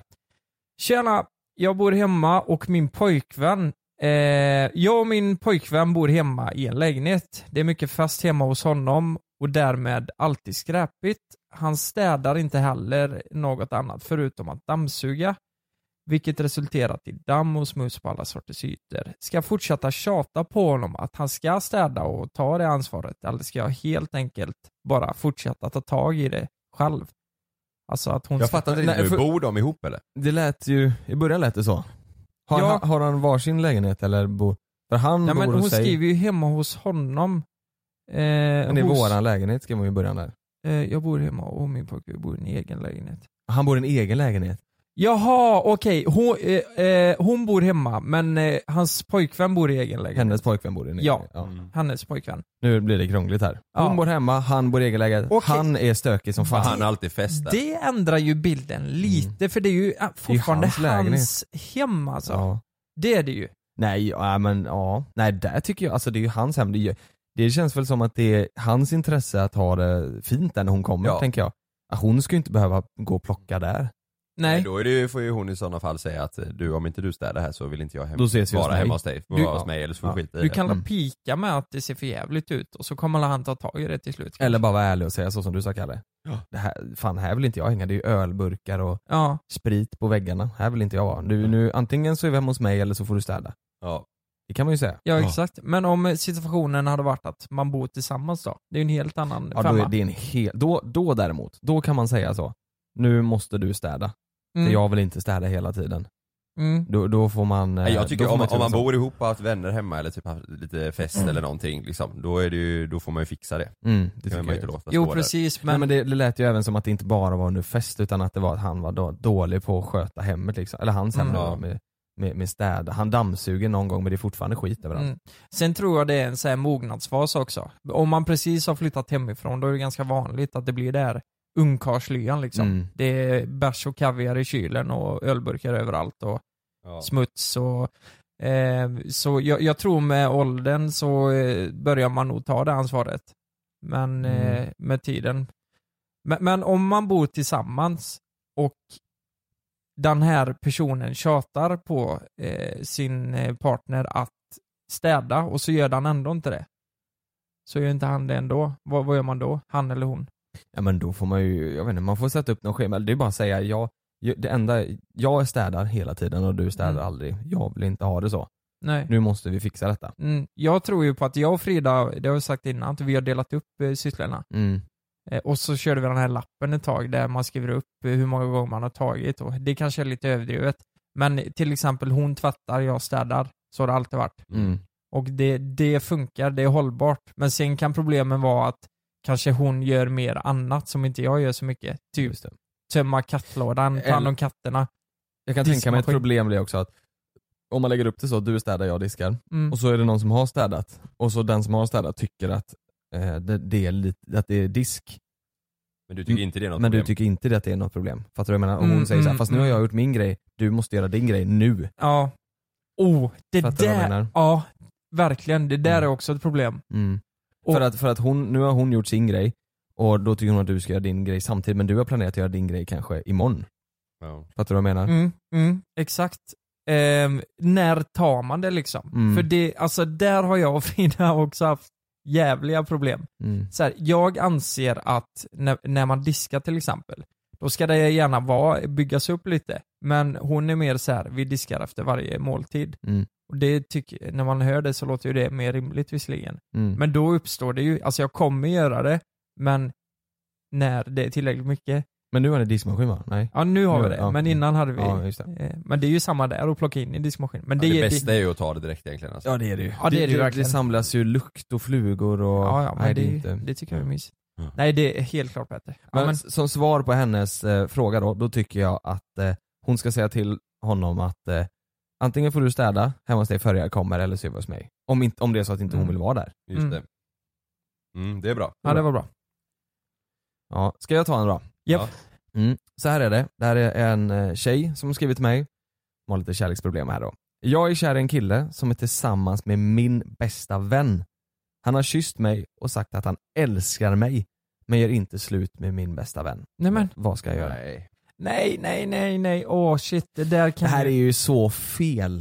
Speaker 5: Tjena, jag bor hemma och min pojkvän eh, jag och min pojkvän bor hemma i en lägenhet. Det är mycket fest hemma hos honom och därmed alltid skräpigt. Han städar inte heller något annat förutom att dammsuga vilket resulterat i damm och smuts på alla sorters ytor. Ska jag fortsätta tjata på honom att han ska städa och ta det ansvaret eller ska jag helt enkelt bara fortsätta ta tag i det själv? Alltså att hon
Speaker 6: Jag
Speaker 5: ska-
Speaker 6: fattar inte riktigt
Speaker 4: Nej,
Speaker 6: nu,
Speaker 4: för-
Speaker 6: bor de ihop eller?
Speaker 4: Det lät ju, i början lät det så. Har,
Speaker 5: Ja.
Speaker 4: han, har han varsin lägenhet eller bor, för han
Speaker 5: Ja,
Speaker 4: bor
Speaker 5: men hon
Speaker 4: hos sig.
Speaker 5: skriver ju hemma hos honom. Eh,
Speaker 4: Men det är
Speaker 5: hos,
Speaker 4: våran lägenhet skrev hon i början där.
Speaker 5: eh, jag bor hemma och min pojkvän bor i en egen lägenhet.
Speaker 4: Han bor i en egen lägenhet.
Speaker 5: Jaha, okej. Hon, eh, eh, hon bor hemma men eh, hans pojkvän bor i egen lägenhet.
Speaker 4: Hennes pojkvän bor i en egen
Speaker 5: Ja.
Speaker 4: lägenhet. Ja.
Speaker 5: Hennes pojkvän.
Speaker 4: Nu blir det krångligt här. Hon
Speaker 5: Ja.
Speaker 4: bor hemma, han bor i egen lägenhet.
Speaker 5: Okej.
Speaker 4: Han är stökig som fan.
Speaker 6: Han har alltid fest där.
Speaker 5: Det ändrar ju
Speaker 4: Mm.
Speaker 5: bilden lite för det är ju eh, fortfarande
Speaker 4: hans
Speaker 5: hans,
Speaker 4: lägenhet.
Speaker 5: hem [laughs] alltså.
Speaker 4: ja.
Speaker 5: Det är det ju.
Speaker 4: Nej, ja, men ja. Nej, där tycker jag, alltså det är ju hans hem. Det, är ju- det känns väl som att det är hans intresse att ha det fint där när hon kommer,
Speaker 6: Ja.
Speaker 4: tänker jag. Ah, Hon ska ju inte behöva gå och plocka där.
Speaker 5: Nej.
Speaker 6: Då är det, ju- får ju hon i sådana fall säga att eh, du, om inte du städar här så vill inte jag hem,
Speaker 4: Då ses vi hos
Speaker 6: vara
Speaker 4: mig.
Speaker 6: hemma hos dig. Vara
Speaker 4: Du-
Speaker 6: hos mig eller så får du
Speaker 4: Ja.
Speaker 6: skita i
Speaker 5: Du
Speaker 6: det.
Speaker 5: kan
Speaker 4: Mm.
Speaker 5: pika med att det ser för jävligt ut och så kommer han ta tag i det till slut.
Speaker 4: Eller bara vara ärlig och säga så som du sa Kalle. Det här, fan, här vill inte jag hänga. Det är ju ölburkar och
Speaker 5: Ja.
Speaker 4: sprit på väggarna. Här vill inte jag vara. Du, nu, antingen så är vi hemma hos mig eller så får du städa.
Speaker 6: Ja.
Speaker 4: Det kan man ju säga.
Speaker 5: Ja exakt, men om eh, situationen hade varit att man bor tillsammans då? Det är ju en helt annan
Speaker 4: Ja, då,
Speaker 5: femma.
Speaker 4: är det en hel, då, då däremot, då kan man säga så. Nu måste du städa,
Speaker 5: Mm,
Speaker 4: för jag vill inte städa hela tiden.
Speaker 5: mm.
Speaker 4: Då, då får man... eh,
Speaker 6: Nej,
Speaker 4: då
Speaker 6: jag tycker
Speaker 4: får
Speaker 6: om, om man
Speaker 4: turas
Speaker 6: bor ihop och har haft vänner hemma eller typ haft lite fest eller någonting liksom, då, är det ju, då får man ju fixa det.
Speaker 4: Mm, det
Speaker 6: Det
Speaker 4: tycker
Speaker 6: kan man
Speaker 4: jag.
Speaker 6: ju inte låta
Speaker 5: Jo
Speaker 6: stå där.
Speaker 5: precis, men,
Speaker 4: Nej, men det, det lät ju även som att det inte bara var under fest utan att det var att han var då, dålig på att sköta hemmet liksom. Eller hans hem
Speaker 5: Mm.
Speaker 4: då, med, med, med städ. Han dammsuger någon gång men det är fortfarande skit överallt.
Speaker 5: Mm. Sen tror jag det är en så här mognadsfas också. Om man precis har flyttat hemifrån då är det ganska vanligt att det blir där ungkarlslyan liksom.
Speaker 4: Mm.
Speaker 5: Det är bärs och kaviar i kylen och ölburkar överallt och
Speaker 6: Ja.
Speaker 5: smuts och eh, så jag, jag tror med åldern så eh, börjar man nog ta det ansvaret. Men eh, med tiden. Men, men om man bor tillsammans och den här personen tjatar på eh, sin eh, partner att städa och så gör den ändå inte det. så gör inte han det ändå. Vad, vad gör man då? Han eller hon?
Speaker 4: Ja men då får man ju, jag vet inte, man får sätta upp någon schema. Det är bara att säga, jag, jag- det enda, jag städar hela tiden och du städar
Speaker 5: Mm.
Speaker 4: aldrig. Jag vill inte ha det så.
Speaker 5: Nej.
Speaker 4: Nu måste vi fixa detta.
Speaker 5: Mm. Jag tror ju på att jag och Frida, det har jag sagt innan, att vi har delat upp eh, sysslorna.
Speaker 4: Mm.
Speaker 5: Eh, och så körde vi den här lappen ett tag där man skriver upp eh, hur många gånger man har tagit och det kanske är lite överdrivet. Men till exempel hon tvättar, jag städar. Så har det alltid varit.
Speaker 4: Mm.
Speaker 5: Och det, det funkar, det är hållbart. Men sen kan problemen vara att kanske hon gör mer annat som inte jag gör så mycket. Typ
Speaker 4: Just det.
Speaker 5: tömma kattlådan, ta hand om katterna.
Speaker 4: Jag kan tänka mig ett
Speaker 5: Diskmaskin.
Speaker 4: problem blir också att om man lägger upp det så, du städar, jag diskar.
Speaker 5: Mm.
Speaker 4: Och så är det någon som har städat. Och så den som har städat tycker att, eh, det, det, är lite, att det är disk.
Speaker 6: Men du tycker inte det är något
Speaker 4: Men du
Speaker 6: problem?
Speaker 4: tycker inte det att det är något problem. Fattar du vad jag menar? Och
Speaker 5: Mm,
Speaker 4: hon säger så här,
Speaker 5: mm,
Speaker 4: fast nu har
Speaker 5: mm.
Speaker 4: jag gjort min grej, du måste göra din grej nu.
Speaker 5: Ja. Oh, det
Speaker 4: Fattar du vad jag menar?
Speaker 5: där. Ja, verkligen. Det där
Speaker 4: Mm.
Speaker 5: är också ett problem.
Speaker 4: Mm.
Speaker 5: Och-
Speaker 4: För att, för att hon, nu har hon gjort sin grej och då tycker hon att du ska göra din grej samtidigt men du har planerat att göra din grej kanske imorgon.
Speaker 6: Ja.
Speaker 4: Fattar du vad jag menar?
Speaker 5: Mm, mm, exakt. Ehm, när tar man det liksom?
Speaker 4: Mm.
Speaker 5: För det, alltså där har jag och Frida också haft jävliga problem.
Speaker 4: Mm.
Speaker 5: Så här, jag anser att när, när man diskar till exempel, då ska det gärna vara, byggas upp lite. Men hon är mer så här, vi diskar efter varje måltid.
Speaker 4: Mm.
Speaker 5: Och det tycker, när man hör det så låter ju det mer rimligt visserligen.
Speaker 4: Mm.
Speaker 5: Men då uppstår det ju, alltså jag kommer göra det, men när det är tillräckligt mycket.
Speaker 4: Men nu har ni diskmaskin va? Nej?
Speaker 5: Ja nu har
Speaker 4: Nu
Speaker 5: vi
Speaker 4: är det,
Speaker 5: det,
Speaker 4: ja.
Speaker 5: men innan hade vi
Speaker 4: Ja, just det.
Speaker 5: Eh, Men det är ju samma där, att plocka in i diskmaskinen. Men
Speaker 6: Ja,
Speaker 5: det,
Speaker 6: det,
Speaker 5: är-
Speaker 6: bästa är ju att ta det direkt egentligen alltså.
Speaker 4: Ja det är det ju.
Speaker 5: Ja, det är det ju
Speaker 4: det,
Speaker 5: verkligen.
Speaker 4: samlas ju lukt och flugor och...
Speaker 5: ja, ja, men
Speaker 4: Nej,
Speaker 5: det,
Speaker 4: är
Speaker 5: är ju-
Speaker 4: inte...
Speaker 5: det tycker jag är mysigt.
Speaker 6: Ja.
Speaker 5: Nej, det är helt klart Petter. Ja,
Speaker 4: Men,
Speaker 5: men,
Speaker 4: som svar på hennes eh, fråga då, då tycker jag att eh, hon ska säga till honom att eh, antingen får du städa hemma hos dig före jag kommer eller så är vi hos mig. Om, inte, om det är så att inte hon
Speaker 5: Mm.
Speaker 4: vill vara där.
Speaker 6: Just
Speaker 5: Mm.
Speaker 6: det. Mm, det är bra.
Speaker 5: ja, det var bra.
Speaker 4: Ja, ska jag ta en då?
Speaker 5: Japp.
Speaker 4: Mm. Så här är det, det här är en eh, tjej som har skrivit till mig. Hon har lite kärleksproblem här då. Jag är kär i en kille som är tillsammans med min bästa vän. Han har kysst mig och sagt att han älskar mig men gör inte slut med min bästa vän.
Speaker 5: Nej, men.
Speaker 4: Vad ska jag göra?
Speaker 6: Nej.
Speaker 5: Nej, nej, nej, nej. Åh shit, det där
Speaker 4: Det
Speaker 5: kan
Speaker 4: här är
Speaker 5: ju...
Speaker 4: ju så fel.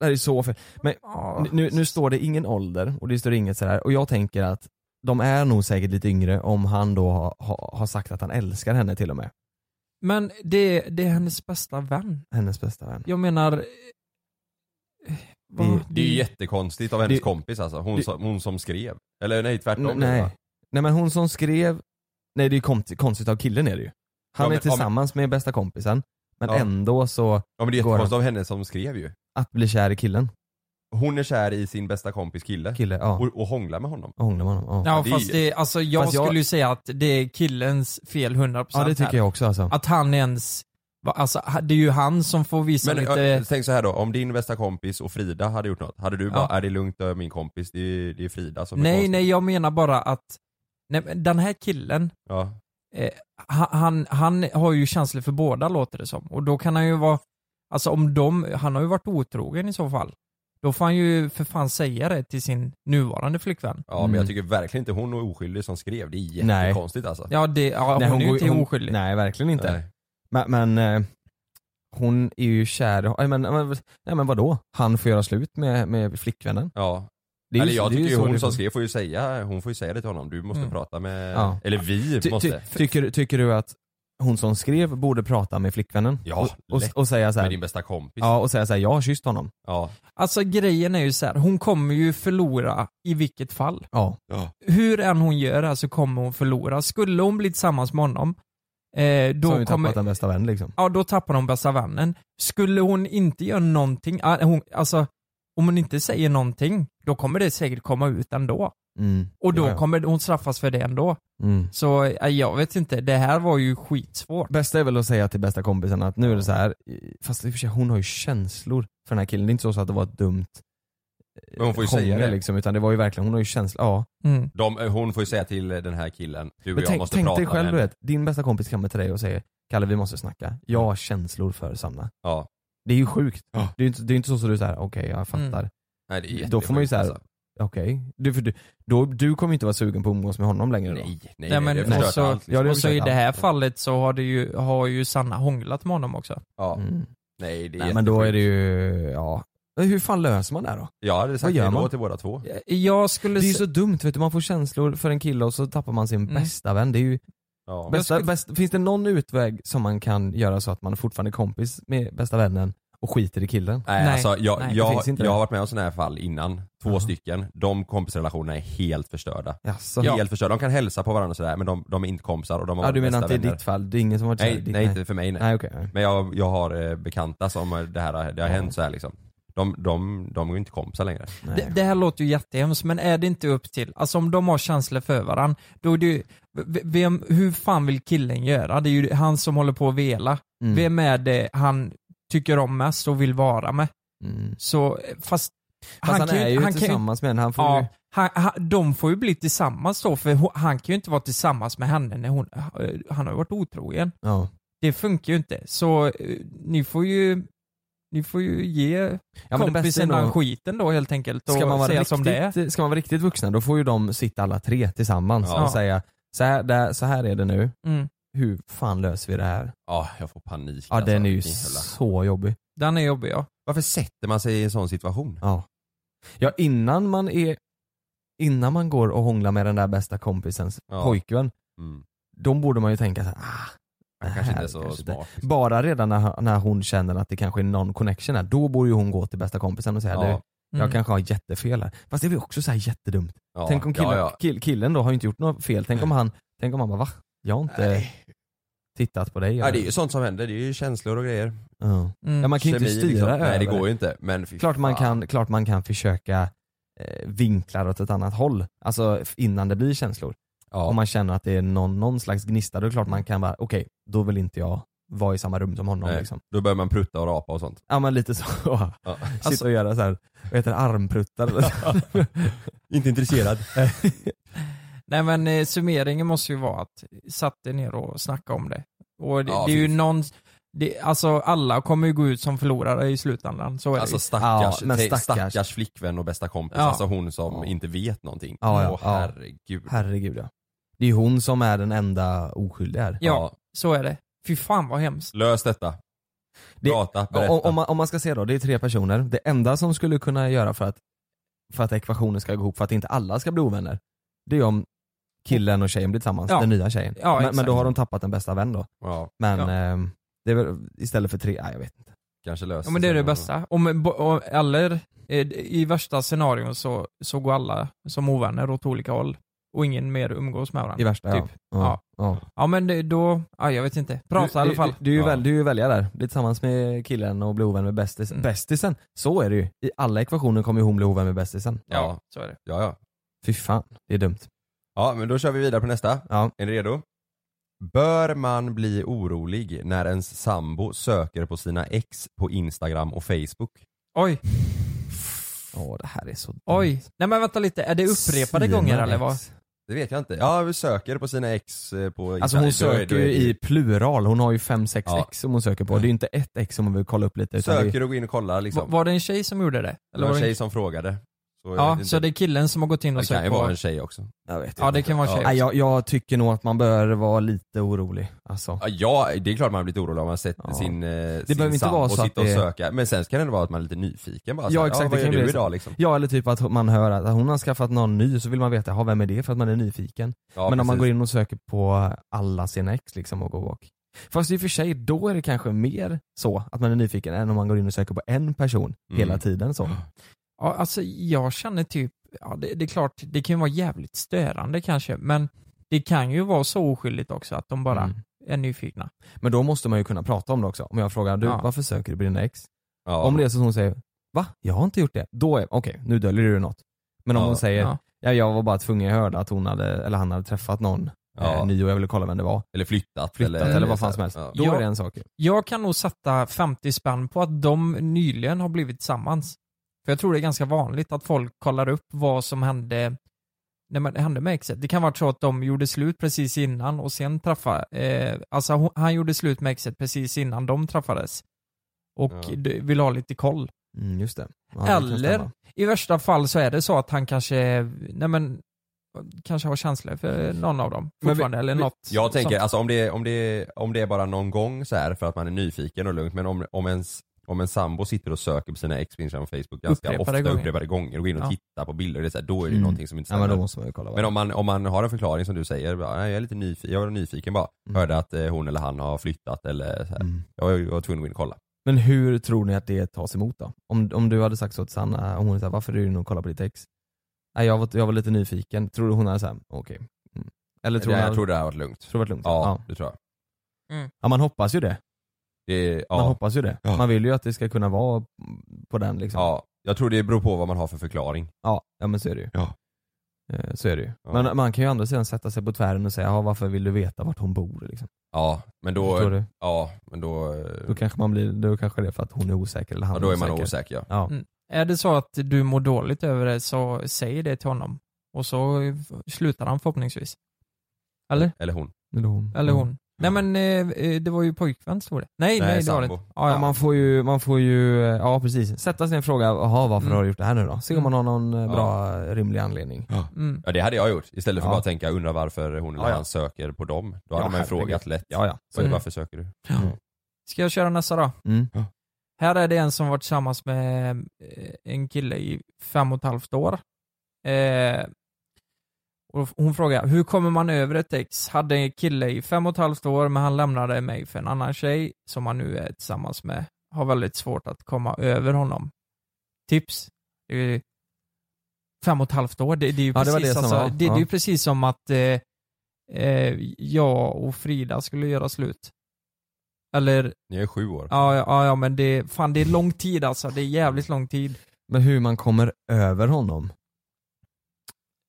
Speaker 4: Det här är så fel.
Speaker 5: Ja.
Speaker 4: Nu, nu står det ingen ålder och det står inget sådär och jag tänker att de är nog säkert lite yngre om han då har har- har sagt att han älskar henne till och med.
Speaker 5: Men det, det är hennes bästa vän.
Speaker 4: Hennes bästa vän.
Speaker 5: Jag menar... eh, vad-
Speaker 4: Det-
Speaker 6: Det är ju jättekonstigt av hennes
Speaker 4: Det-
Speaker 6: kompis alltså. Hon,
Speaker 4: det-
Speaker 6: som, hon som skrev. Eller nej, tvärtom.
Speaker 4: N-
Speaker 6: va?
Speaker 4: nej. nej men hon som skrev, nej det är ju konti- konstigt av killen är det ju. Han
Speaker 6: Ja, men-
Speaker 4: är tillsammans med bästa kompisen men
Speaker 6: Ja.
Speaker 4: ändå så,
Speaker 6: Ja men det är
Speaker 4: Går
Speaker 6: jättekonstigt av henne som skrev ju.
Speaker 4: att bli kär i killen.
Speaker 6: Hon är kär i sin bästa kompis kille.
Speaker 4: Kille, ja.
Speaker 6: Och, och hånglar med honom.
Speaker 4: Och hånglar med honom. Ja.
Speaker 5: Ja,
Speaker 6: det är-
Speaker 5: fast det, alltså jag
Speaker 4: Fast jag-
Speaker 5: skulle ju säga att det är killens fel 100%
Speaker 4: ja det tycker
Speaker 5: här.
Speaker 4: jag också alltså.
Speaker 5: Att han ens... va- Alltså det är ju han som får visa
Speaker 6: Men
Speaker 5: lite...
Speaker 6: äh, tänk så här då, om din bästa kompis och Frida hade gjort något, hade du bara
Speaker 5: Ja.
Speaker 6: är det lugnt det är min kompis, det är, det är Frida som är
Speaker 5: Nej,
Speaker 6: konstig."
Speaker 5: nej, jag menar bara att nej, men den här killen,
Speaker 6: Ja.
Speaker 5: ha- han, han har ju känslor för båda låter det som. Och då kan han ju vara, alltså om de, han har ju varit otrogen i så fall. Då får han ju för fan säga det till sin nuvarande flickvän.
Speaker 6: Ja men
Speaker 4: Mm.
Speaker 6: jag tycker verkligen inte hon är oskyldig som skrev, det är
Speaker 4: Nej.
Speaker 6: jättekonstigt alltså.
Speaker 5: Ja, det, ja
Speaker 4: Nej,
Speaker 5: hon, är
Speaker 4: går-
Speaker 5: ju inte oskyldig.
Speaker 4: Nej verkligen inte.
Speaker 6: Nej.
Speaker 4: Men, men eh, hon är ju kär i- nej, men, men, nej men vadå? Han får göra slut med, med flickvännen.
Speaker 6: Ja.
Speaker 4: Det är ju-
Speaker 6: Eller jag
Speaker 4: det är ju
Speaker 6: tycker ju
Speaker 4: så
Speaker 6: hon
Speaker 4: det-
Speaker 6: som skrev får ju säga, hon får ju säga det till honom, du måste
Speaker 5: Mm.
Speaker 6: prata med,
Speaker 4: Ja.
Speaker 6: eller vi
Speaker 4: Ty,
Speaker 6: måste.
Speaker 4: ty, tycker, tycker du att hon som skrev borde prata med flickvännen?
Speaker 6: Ja,
Speaker 4: och, och,
Speaker 6: lätt.
Speaker 4: och säga så
Speaker 6: med
Speaker 4: här,
Speaker 6: din bästa kompis.
Speaker 4: Ja, och säga så här, jag har kysst honom.
Speaker 6: Ja.
Speaker 5: Alltså grejen är ju så här, hon kommer ju förlora i vilket fall.
Speaker 4: Ja.
Speaker 5: Hur än hon gör det här så kommer hon förlora. Skulle hon bli tillsammans med honom, eh,
Speaker 4: Då har
Speaker 5: då
Speaker 4: vi
Speaker 5: kommer...
Speaker 4: tappat en bästa vän liksom.
Speaker 5: ja då tappar hon bästa vännen. Skulle hon inte göra någonting, ah, hon, alltså om hon inte säger någonting, då kommer det säkert komma ut ändå.
Speaker 4: Mm.
Speaker 5: Och då
Speaker 4: Ja, ja.
Speaker 5: kommer hon straffas för det ändå.
Speaker 4: Mm.
Speaker 5: Så eh, jag vet inte, det här var ju skitsvårt.
Speaker 4: Bästa är väl att säga till bästa kompisen att nu är det så här i- fast i och för sig hon har ju känslor för den här killen. Det är inte så att det var ett dumt eh,
Speaker 6: Men hon får ju
Speaker 4: hångel,
Speaker 6: säga det.
Speaker 4: liksom, utan det var ju verkligen, hon har ju känslor, ja.
Speaker 5: Mm.
Speaker 6: De, eh, hon får ju säga till den här killen, du och
Speaker 4: Men
Speaker 6: jag
Speaker 4: tänk,
Speaker 6: måste
Speaker 4: tänk
Speaker 6: prata
Speaker 4: dig själv
Speaker 6: med
Speaker 4: du
Speaker 6: henne.
Speaker 4: vet, din bästa kompis kommer till dig och säger Kalle vi måste snacka, jag har känslor för Sanna.
Speaker 6: Ja.
Speaker 4: Det är ju sjukt.
Speaker 6: Ja.
Speaker 4: Det är ju inte, det är inte så att du säger okej jag fattar.
Speaker 5: Mm.
Speaker 6: Nej, det är
Speaker 4: Då
Speaker 6: jättesjukt,
Speaker 4: får man ju så här,
Speaker 6: alltså.
Speaker 4: okej. Du, för du, då, du kommer ju inte vara sugen på att umgås med honom längre då.
Speaker 6: Nej,
Speaker 5: Nej,
Speaker 6: nej, nej,
Speaker 5: men
Speaker 6: det
Speaker 5: och
Speaker 6: förstör
Speaker 5: så-
Speaker 6: allt. Liksom.
Speaker 4: det
Speaker 5: Och så i
Speaker 4: försöker
Speaker 5: det här
Speaker 4: han.
Speaker 5: fallet så har, det ju, har ju Sanna hånglat med honom också.
Speaker 6: Ja.
Speaker 4: Mm.
Speaker 6: Nej, det är
Speaker 4: Nej men då är det
Speaker 6: jättesjukt.
Speaker 4: ju, ja. Men Hur fan löser man det här då?
Speaker 6: Jag hade sagt
Speaker 4: gör
Speaker 6: hej då
Speaker 4: man?
Speaker 6: till båda två.
Speaker 5: Eh, Jag skulle...
Speaker 4: Det är ju
Speaker 5: sä-
Speaker 4: så dumt vet du, man får känslor för en kille och så tappar man sin
Speaker 5: Mm.
Speaker 4: bästa vän. Det är ju
Speaker 6: Ja.
Speaker 4: bästa, bäst, finns det någon utväg som man kan göra så att man fortfarande är kompis med bästa vännen och skiter i killen?
Speaker 6: Nej,
Speaker 5: Nej,
Speaker 6: alltså jag,
Speaker 5: nej, det
Speaker 6: jag,
Speaker 4: finns inte
Speaker 6: jag
Speaker 4: det.
Speaker 6: har varit med om sådana här fall innan. Två
Speaker 4: Ja.
Speaker 6: stycken. De kompisrelationerna är helt förstörda.
Speaker 4: Jaså?
Speaker 6: Helt förstörda. De kan hälsa på varandra och sådär men de, de är inte kompisar och de har
Speaker 4: Ja, du
Speaker 6: varit
Speaker 4: menar
Speaker 6: bästa
Speaker 4: inte i
Speaker 6: vänner.
Speaker 4: ditt fall? Det är ingen som har varit kär i
Speaker 6: Nej,
Speaker 4: ditt-
Speaker 6: nej, inte för mig nej.
Speaker 4: Nej okej. nej.
Speaker 6: Men jag, jag har eh, bekanta som eh, det här det har hänt så här liksom. De, de, de är ju inte kompisar längre.
Speaker 4: Nej.
Speaker 5: Det, det här låter ju jättehemskt, men är det inte upp till, alltså om de har känslor för varandra, då är det ju, v- vem, hur fan vill killen göra? Det är ju han som håller på att vela.
Speaker 4: Mm.
Speaker 5: Vem är det han tycker om mest och vill vara med?
Speaker 4: Mm.
Speaker 5: Så, fast,
Speaker 4: Fast han,
Speaker 5: kan
Speaker 4: är ju
Speaker 5: han kan
Speaker 4: tillsammans med henne, han får ju...
Speaker 5: Ja, han, han, de får ju bli tillsammans då, för hon, han kan ju inte vara tillsammans med henne när hon, eh, han har ju varit otrogen.
Speaker 4: Ja.
Speaker 5: Det funkar ju inte. Så eh, ni får ju, ni får ju ge
Speaker 4: Ja, men det bästa är
Speaker 5: kompisen
Speaker 4: nog-
Speaker 5: den skiten då helt enkelt och
Speaker 4: Ska man, vara
Speaker 5: säga som det är.
Speaker 4: riktigt, ska man vara riktigt vuxna då får ju de sitta alla tre tillsammans
Speaker 6: Ja.
Speaker 4: och säga så här, där, så här är det nu,
Speaker 5: Mm.
Speaker 4: hur fan löser vi det här?
Speaker 6: Ja, jag får panik
Speaker 4: Ja den är ju
Speaker 6: Vilken jävla-
Speaker 4: så jobbig.
Speaker 5: Den är jobbig ja.
Speaker 6: Varför sätter man sig i en sån situation?
Speaker 4: Ja. ja innan man är, innan man går och hånglar med den där bästa kompisens
Speaker 6: Ja.
Speaker 4: pojkvän,
Speaker 6: Mm.
Speaker 4: då borde man ju tänka så här, ah, det
Speaker 6: Han kanske inte
Speaker 4: här
Speaker 6: är så
Speaker 4: kanske inte-
Speaker 6: smart. liksom.
Speaker 4: Bara redan när, när hon känner att det kanske är någon connection här, då borde ju hon gå till bästa kompisen och säga du,
Speaker 6: Ja,
Speaker 5: Mm.
Speaker 4: jag kanske har jättefel här. Fast det är väl också så här jättedumt.
Speaker 6: ja,
Speaker 4: Tänk om killen,
Speaker 6: ja, ja.
Speaker 4: Kill, killen då har ju inte gjort något fel. Tänk om han, tänk om han bara va? Jag har inte tittat på dig.
Speaker 6: Ja, det är ju sånt som händer, det är ju känslor och grejer.
Speaker 4: Ja.
Speaker 5: Mm.
Speaker 4: Ja, man kan ju inte
Speaker 6: Kemi, liksom.
Speaker 4: styra över
Speaker 6: Nej det går ju inte. Men fy
Speaker 4: Klart man
Speaker 6: fan.
Speaker 4: kan, klart man kan försöka eh, vinkla det åt ett annat håll. Alltså f- innan det blir känslor.
Speaker 6: Ja.
Speaker 4: Om man känner att det är någon, någon slags gnista, då är det klart man kan bara, okej, då vill inte jag vara i samma rum som honom
Speaker 6: Nej.
Speaker 4: liksom.
Speaker 6: Då börjar man prutta och rapa och sånt.
Speaker 4: Ja men lite så. [laughs]
Speaker 6: Ja.
Speaker 5: Alltså-
Speaker 4: Sitta och göra såhär, vad heter det, armpruttar eller så.
Speaker 5: [laughs]
Speaker 6: Inte intresserad.
Speaker 5: Nej men eh, summeringen måste ju vara att sätt er ner och snacka om det. Och det,
Speaker 6: Ja,
Speaker 5: det är ju
Speaker 6: fy-
Speaker 5: någon, det, alltså alla kommer ju gå ut som förlorare i slutändan, så är det
Speaker 6: Alltså
Speaker 5: ju.
Speaker 6: stackars,
Speaker 4: Ja, men
Speaker 6: te- stackars.
Speaker 4: stackars.
Speaker 6: flickvän och bästa kompis,
Speaker 5: Ja.
Speaker 6: alltså hon som
Speaker 4: Ja.
Speaker 6: inte vet någonting.
Speaker 4: Ja, ja,
Speaker 6: Åh
Speaker 4: ja.
Speaker 6: herregud.
Speaker 4: Herregud ja. Det är ju hon som är den enda oskyldiga här.
Speaker 5: Ja. Så är det. Fy fan vad hemskt.
Speaker 6: Lös detta.
Speaker 4: Det-
Speaker 6: Prata, berätta.
Speaker 4: Om, om, man, om man ska se då, det är tre personer. Det enda som skulle kunna göra för att, för att ekvationen ska gå ihop, för att inte alla ska bli ovänner, det är om killen och tjejen blir tillsammans,
Speaker 5: Ja.
Speaker 4: den nya tjejen.
Speaker 5: Ja,
Speaker 4: men, men
Speaker 5: exakt.
Speaker 4: då har de tappat en bästa vän då.
Speaker 6: Ja,
Speaker 4: Men
Speaker 5: Ja.
Speaker 4: ehm, det är väl istället för tre, nej jag vet inte.
Speaker 6: kanske lös
Speaker 5: Ja men det är det
Speaker 4: Alltså,
Speaker 5: bästa. Om, bo- om, eller eh, i värsta scenarion så, så går alla som ovänner åt olika håll och ingen mer umgås med
Speaker 4: I
Speaker 5: varandra.
Speaker 4: värsta
Speaker 5: Typ.
Speaker 4: ja. ja. ja.
Speaker 5: Ja men det, då, ja, jag vet inte. Prata i alla fall.
Speaker 4: Du, du, du, är ju
Speaker 6: Ja.
Speaker 4: väl, du är ju välja där, bli tillsammans med killen och bli ovän med bästisen.
Speaker 5: Mm.
Speaker 4: Bästisen, så är det ju. I alla ekvationer kommer ju hon bli ovän med bästisen.
Speaker 6: Ja,
Speaker 5: Så är det.
Speaker 6: ja, ja.
Speaker 4: Fy fan, det är dumt.
Speaker 6: Ja, men då kör vi vidare på nästa.
Speaker 4: Ja.
Speaker 6: Är ni redo? Bör man bli orolig när ens sambo söker på sina ex på Instagram och Facebook?
Speaker 5: Oj,
Speaker 4: Åh det här är så dumt.
Speaker 5: oj. Nej men vänta lite, är det upprepade
Speaker 4: Sina
Speaker 5: gånger eller vad?
Speaker 4: ex.
Speaker 6: Det vet jag inte. Ja, vi söker på sina ex eh, på
Speaker 4: Alltså hon söker ju i plural, hon har ju fem sex
Speaker 6: Ja.
Speaker 4: ex som hon söker på. Det är ju inte ett ex som hon vill kolla upp lite. Utan det är,
Speaker 6: Söker och går in och kollar
Speaker 5: Va-
Speaker 6: liksom.
Speaker 5: Var det en tjej som gjorde det?
Speaker 6: det var en
Speaker 5: det-
Speaker 6: tjej som frågade. Så jag vet
Speaker 5: Ja,
Speaker 6: inte.
Speaker 5: så det är killen som har gått in och
Speaker 6: det kan ju
Speaker 5: sökt
Speaker 6: vara
Speaker 5: på...
Speaker 6: en tjej också.
Speaker 4: jag, vet
Speaker 5: Ja, det kan vara en tjej.
Speaker 4: Nej, jag, jag tycker nog att man bör vara lite orolig. Alltså.
Speaker 6: Ja, Ja, det är klart man har blivit orolig om man har sett
Speaker 4: Ja.
Speaker 6: sin, eh, sin
Speaker 4: behöver inte
Speaker 6: sambo
Speaker 4: vara så att
Speaker 6: sitta och
Speaker 4: det-
Speaker 6: söka. Men sen ska det ändå vara att man är lite nyfiken bara.
Speaker 4: Ja,
Speaker 6: så här,
Speaker 4: exakt,
Speaker 6: vad
Speaker 4: det
Speaker 6: gör
Speaker 4: kan ju
Speaker 6: du
Speaker 4: bli så.
Speaker 6: idag liksom?
Speaker 4: Ja eller typ att man hör att hon har skaffat någon ny så vill man veta, ja, vem är det? För att man är nyfiken.
Speaker 6: Ja,
Speaker 4: Men om man
Speaker 6: precis.
Speaker 4: går in och söker på alla sina ex liksom och går bak. Fast i och för sig, då är det kanske mer så att man är nyfiken än om man går in och söker på en person
Speaker 6: Mm.
Speaker 4: hela tiden så.
Speaker 5: Ja, alltså jag känner typ, ja det, det är klart, det kan ju vara jävligt störande kanske, men det kan ju vara så oskyldigt också att de bara
Speaker 4: Mm.
Speaker 5: är nyfikna.
Speaker 4: Men då måste man ju kunna prata om det också. Om jag frågar, du
Speaker 5: Ja.
Speaker 4: varför söker du på dina ex?
Speaker 6: Ja.
Speaker 4: Om det är så att hon säger Va? Jag har inte gjort det. Då är okej, nu döljer du något. Men om
Speaker 6: Ja,
Speaker 4: hon säger
Speaker 5: ja.
Speaker 4: ja. jag var bara tvungen, jag hörde att hon hade, eller han hade träffat någon
Speaker 6: Ja.
Speaker 4: eh, ny och jag ville kolla vem det var.
Speaker 6: Eller flyttat.
Speaker 4: Flyttat eller, vad fan som helst.
Speaker 6: Ja.
Speaker 4: Då
Speaker 5: Ja.
Speaker 4: är det en sak ju.
Speaker 5: Jag kan nog sätta 50 spänn på att de nyligen har blivit tillsammans. För jag tror det är ganska vanligt att folk kollar upp vad som hände när man, det hände med exet. Det kan vara så att de gjorde slut precis innan och sen träffade, eh, alltså hon, han gjorde slut med exet precis innan de träffades. Och
Speaker 6: Ja.
Speaker 5: d- vill ha lite koll.
Speaker 4: Mm, just det. Ja, det kan
Speaker 5: Eller-
Speaker 4: stämma.
Speaker 5: I värsta fall så är det så att han kanske, nej men, kanske har känslor för någon av dem
Speaker 6: Men vi-
Speaker 5: fortfarande eller något.
Speaker 6: Jag tänker,
Speaker 5: sånt.
Speaker 6: alltså om det, är, om, det är, om det är bara någon gång så här för att man är nyfiken och lugnt, men om, om ens om en sambo sitter och söker på sina ex på Instagram och Facebook ganska
Speaker 5: Upprepade
Speaker 6: ofta,
Speaker 5: gånger.
Speaker 6: upprepade gånger och går in och
Speaker 5: Ja.
Speaker 6: tittar på bilder, det är så här, då är det
Speaker 4: Mm.
Speaker 6: någonting som inte
Speaker 4: Ja,
Speaker 6: stämmer.
Speaker 4: men då måste man ju kolla vad
Speaker 6: Men om man, om man har en förklaring som du säger, bara, "Nej, jag är lite nyfiken, jag var nyfiken bara.
Speaker 4: Mm.
Speaker 6: Hörde att eh, hon eller han har flyttat eller så här.
Speaker 4: Mm.
Speaker 6: Jag, jag var tvungen att gå in och kolla.
Speaker 4: Men hur tror ni att det tas emot då? Om, om du hade sagt så till Sanna, och hon sa varför är du inne och kollar på ditt ex? Nej, jag, var, jag var lite nyfiken, tror du hon hade såhär, okej. Mm. Eller tror
Speaker 6: Det,
Speaker 4: hon
Speaker 6: jag
Speaker 4: hade,
Speaker 6: tror det här har varit lugnt.
Speaker 4: tror det var lugnt?
Speaker 6: Ja,
Speaker 4: Ja.
Speaker 6: det tror jag.
Speaker 4: ja, man hoppas ju det.
Speaker 6: Det,
Speaker 4: Man
Speaker 6: ja,
Speaker 4: hoppas ju det.
Speaker 6: Ja.
Speaker 4: Man vill ju att det ska kunna vara på den liksom.
Speaker 6: ja, jag tror det beror på vad man har för förklaring.
Speaker 4: Ja, ja men så är det ju.
Speaker 6: Ja.
Speaker 4: Eh, Så är det ju.
Speaker 6: Ja.
Speaker 4: Men man kan ju å andra sidan sätta sig på tvären och säga, ja, varför vill du veta vart hon bor? Liksom.
Speaker 6: Ja, men
Speaker 4: Förstår
Speaker 6: då,
Speaker 4: du?
Speaker 6: ja, men då, eh,
Speaker 4: Då kanske, man blir, då kanske det är för att hon är osäker eller han
Speaker 6: ja, då är
Speaker 4: osäker.
Speaker 6: man osäker. Ja.
Speaker 4: Ja.
Speaker 5: Mm. Är det så att du mår dåligt över det så säg det till honom. Och så eh, slutar han förhoppningsvis. Eller?
Speaker 6: Eller hon.
Speaker 4: Eller hon.
Speaker 5: Eller hon. Nej men eh, eh, det var ju pojkvän stod det. Nej nej,
Speaker 6: Nej,
Speaker 5: det var det
Speaker 6: sambo.
Speaker 5: inte. Ja,
Speaker 4: Ja,
Speaker 5: ja.
Speaker 4: man får ju, man får ju, ja precis. Sätta sig ner och fråga, jaha varför
Speaker 5: Mm.
Speaker 4: har du gjort det här nu då? Se om man har någon eh,
Speaker 6: Ja.
Speaker 4: bra, rimlig anledning.
Speaker 5: Mm.
Speaker 6: Ja det hade jag gjort. Istället för
Speaker 4: Ja.
Speaker 6: bara att tänka undra varför hon eller
Speaker 4: Ja, ja.
Speaker 6: han söker på dem. Då
Speaker 4: Ja,
Speaker 6: hade man ju
Speaker 4: herregud.
Speaker 6: frågat lätt.
Speaker 4: Ja, ja.
Speaker 6: Så,
Speaker 5: Mm.
Speaker 6: Varför söker du?
Speaker 5: Ska jag köra nästa då?
Speaker 4: Mm.
Speaker 5: Här är det en som varit tillsammans med eh, en kille i fem och ett halvt år. Eh, och hon frågar, hur kommer man över ett ex? Hade en kille i fem och ett halvt år men han lämnade mig för en annan tjej som han nu är tillsammans med. Har väldigt svårt att komma över honom. Tips? Det är ju Fem och ett halvt år, det, det, är, ju
Speaker 4: Ja, det var
Speaker 5: precis,
Speaker 4: det som
Speaker 5: alltså,
Speaker 4: var,
Speaker 5: det,
Speaker 4: ja.
Speaker 5: det är ju precis som att eh, eh, jag och Frida skulle göra slut. Eller
Speaker 6: Ni är sju år.
Speaker 5: Ja, ja, ja men det, fan det är lång tid alltså. Det är jävligt lång tid.
Speaker 4: Men hur man kommer över honom?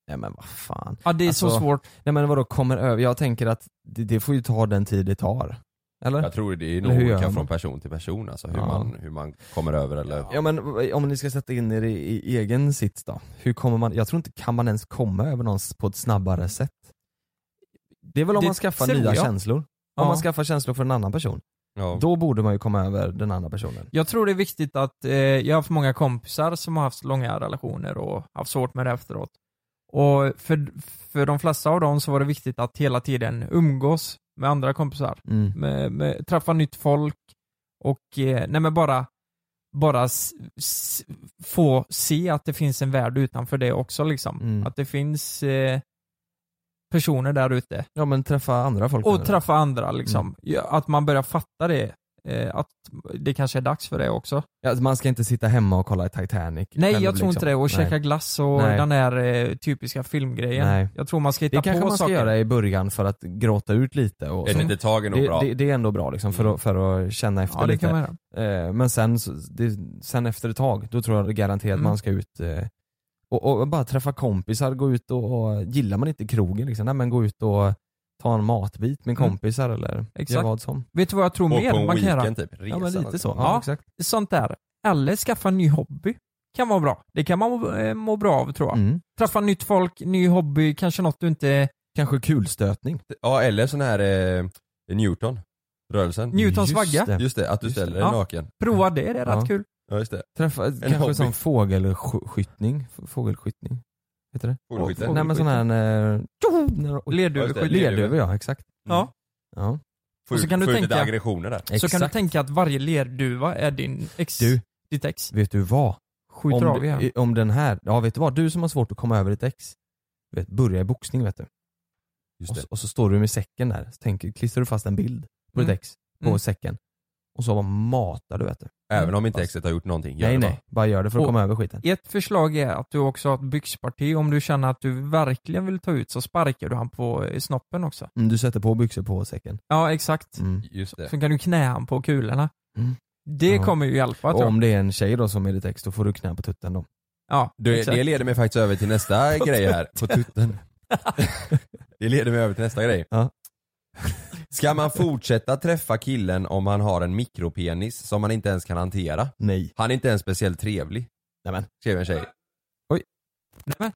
Speaker 4: Nej men vad fan.
Speaker 5: Ja, det är så
Speaker 4: Alltså,
Speaker 5: svårt.
Speaker 4: Nej men vadå kommer över? Jag tänker att det, det får ju ta den tid det tar. Eller?
Speaker 6: Jag tror det är
Speaker 4: Eller
Speaker 6: nog
Speaker 4: hur gör
Speaker 6: olika
Speaker 4: man?
Speaker 6: från person till person alltså hur,
Speaker 4: Ja.
Speaker 6: man, hur man kommer över eller...
Speaker 4: Ja men v- om ni ska sätta in er i, i egen sits då? Hur kommer man, jag tror inte kan man ens komma över någon s- på ett snabbare sätt? Det är väl om
Speaker 5: Det
Speaker 4: man skaffar
Speaker 5: tror
Speaker 4: nya
Speaker 5: jag.
Speaker 4: känslor? Om
Speaker 5: Ja.
Speaker 4: man skaffar känslor för en annan person,
Speaker 6: Ja.
Speaker 4: då borde man ju komma över den andra personen.
Speaker 5: Jag tror det är viktigt att, eh, jag har haft många kompisar som har haft långa relationer och haft svårt med det efteråt. Och för, för de flesta av dem så var det viktigt att hela tiden umgås med andra kompisar.
Speaker 4: Mm.
Speaker 5: Med, med, träffa nytt folk och, eh, nej men bara, bara s, s, få se att det finns en värld utanför det också liksom.
Speaker 4: Mm.
Speaker 5: Att det finns eh, personer där ute
Speaker 4: Ja men träffa andra folk. menar
Speaker 5: Och
Speaker 4: du?
Speaker 5: träffa andra liksom.
Speaker 4: Mm.
Speaker 5: Ja, Att man börjar fatta det. Eh, att det kanske är dags för det också.
Speaker 4: Ja, alltså, man ska inte sitta hemma och kolla Titanic.
Speaker 5: Nej
Speaker 4: själv,
Speaker 5: jag tror inte
Speaker 4: liksom.
Speaker 5: det. Och
Speaker 4: Nej.
Speaker 5: käka glass och
Speaker 4: Nej.
Speaker 5: den här eh, typiska filmgrejen.
Speaker 4: Nej.
Speaker 5: Jag tror man ska hitta
Speaker 4: Det
Speaker 5: på
Speaker 4: kanske man ska
Speaker 5: saker.
Speaker 4: göra i början för att gråta ut lite och
Speaker 6: Ett
Speaker 4: så.
Speaker 6: litet tag är nog
Speaker 4: Det,
Speaker 6: bra. Mm.
Speaker 4: det, det är ändå bra liksom för att, för att känna efter
Speaker 5: Ja det
Speaker 4: lite.
Speaker 5: kan man göra.
Speaker 4: Eh, men sen, så- det, sen efter ett tag, då tror jag garanterat
Speaker 5: Mm.
Speaker 4: man ska ut eh, och, och bara träffa kompisar, gå ut och, och gillar man inte krogen liksom, nej men gå ut och ta en matbit med
Speaker 5: Mm.
Speaker 4: kompisar eller
Speaker 5: Exakt.
Speaker 4: göra vad som.
Speaker 5: Vet du vad jag tror
Speaker 6: Och
Speaker 5: mer
Speaker 6: på en
Speaker 5: man kan göra?
Speaker 6: weekend typ. Resa
Speaker 4: Ja men lite så. Ja,
Speaker 5: Ja.
Speaker 4: exakt.
Speaker 5: Sånt där. Eller skaffa en ny hobby. Kan vara bra. Det kan man må, eh, må bra av tror jag.
Speaker 4: Mm.
Speaker 5: Träffa nytt folk, ny hobby, kanske något du inte...
Speaker 4: Kanske kulstötning.
Speaker 6: Ja eller sån här eh, Newton. Rörelsen.
Speaker 5: Newtons
Speaker 4: Just
Speaker 5: vagga.
Speaker 4: det.
Speaker 6: Just det, att du
Speaker 4: Just det.
Speaker 6: ställer dig
Speaker 5: Ja.
Speaker 6: naken.
Speaker 5: Prova det, det är
Speaker 4: Ja.
Speaker 5: rätt kul.
Speaker 6: Ja just det.
Speaker 4: Träffa,
Speaker 6: hobby.
Speaker 4: kanske som fågelskjutning, F- fågelskjutning, heter det?
Speaker 6: Fågelskjutning.
Speaker 4: Nej men sån här, eh, tjoho, när- oj,
Speaker 5: Lerduveskydd.
Speaker 6: Lerduveskydd.
Speaker 4: lerduvor ja, exakt.
Speaker 5: Ja.
Speaker 4: Ja,
Speaker 6: Få
Speaker 5: Och så
Speaker 6: ut-
Speaker 5: kan du
Speaker 6: få ut
Speaker 5: tänka-
Speaker 6: lite aggressioner där.
Speaker 5: Så kan du
Speaker 4: exakt.
Speaker 5: tänka att varje lerduva är din ex,
Speaker 4: Du.
Speaker 5: ditt ex.
Speaker 4: Vet du vad?
Speaker 5: Skjuter
Speaker 4: om,
Speaker 5: av igen.
Speaker 4: i- om den här, ja vet du vad? Du som har svårt att komma över ditt ex, vet, börja i boxning vet du.
Speaker 6: Just
Speaker 4: Och,
Speaker 6: det.
Speaker 4: så- och så står du med säcken där, så tänker, klistrar du fast en bild på
Speaker 5: Mm.
Speaker 4: ditt ex, på
Speaker 5: Mm.
Speaker 4: säcken. Och så bara matar du vet du.
Speaker 6: Även om inte exet har gjort någonting. Gör
Speaker 4: mm. nej
Speaker 6: det
Speaker 4: nej,
Speaker 6: bara.
Speaker 4: bara gör det för att
Speaker 5: Och-
Speaker 4: komma över skiten.
Speaker 5: Ett förslag är att du också har ett byxparti. Om du känner att du verkligen vill ta ut så sparkar du han på eh, snoppen också.
Speaker 4: Mm, du sätter på byxor på säcken.
Speaker 5: Ja, exakt.
Speaker 4: Mm.
Speaker 6: Just det.
Speaker 5: Sen kan du knä han på kulorna.
Speaker 4: Mm.
Speaker 5: Det
Speaker 4: Ja.
Speaker 5: kommer ju hjälpa
Speaker 4: Och
Speaker 5: tror jag.
Speaker 4: om det är en tjej då som är ditt ex, då får du knä på tutten då.
Speaker 5: Ja,
Speaker 6: Du,
Speaker 5: exakt.
Speaker 6: det leder mig faktiskt över till
Speaker 4: [laughs]
Speaker 6: nästa grej här. På tutten. det leder mig över till nästa grej.
Speaker 4: Ja.
Speaker 6: Ska man fortsätta träffa killen om han har en mikropenis som man inte ens kan hantera?
Speaker 4: Nej.
Speaker 6: Han är inte ens speciellt trevlig.
Speaker 4: Nämen. Alltså,
Speaker 6: Skrev en tjej.
Speaker 5: Nämen.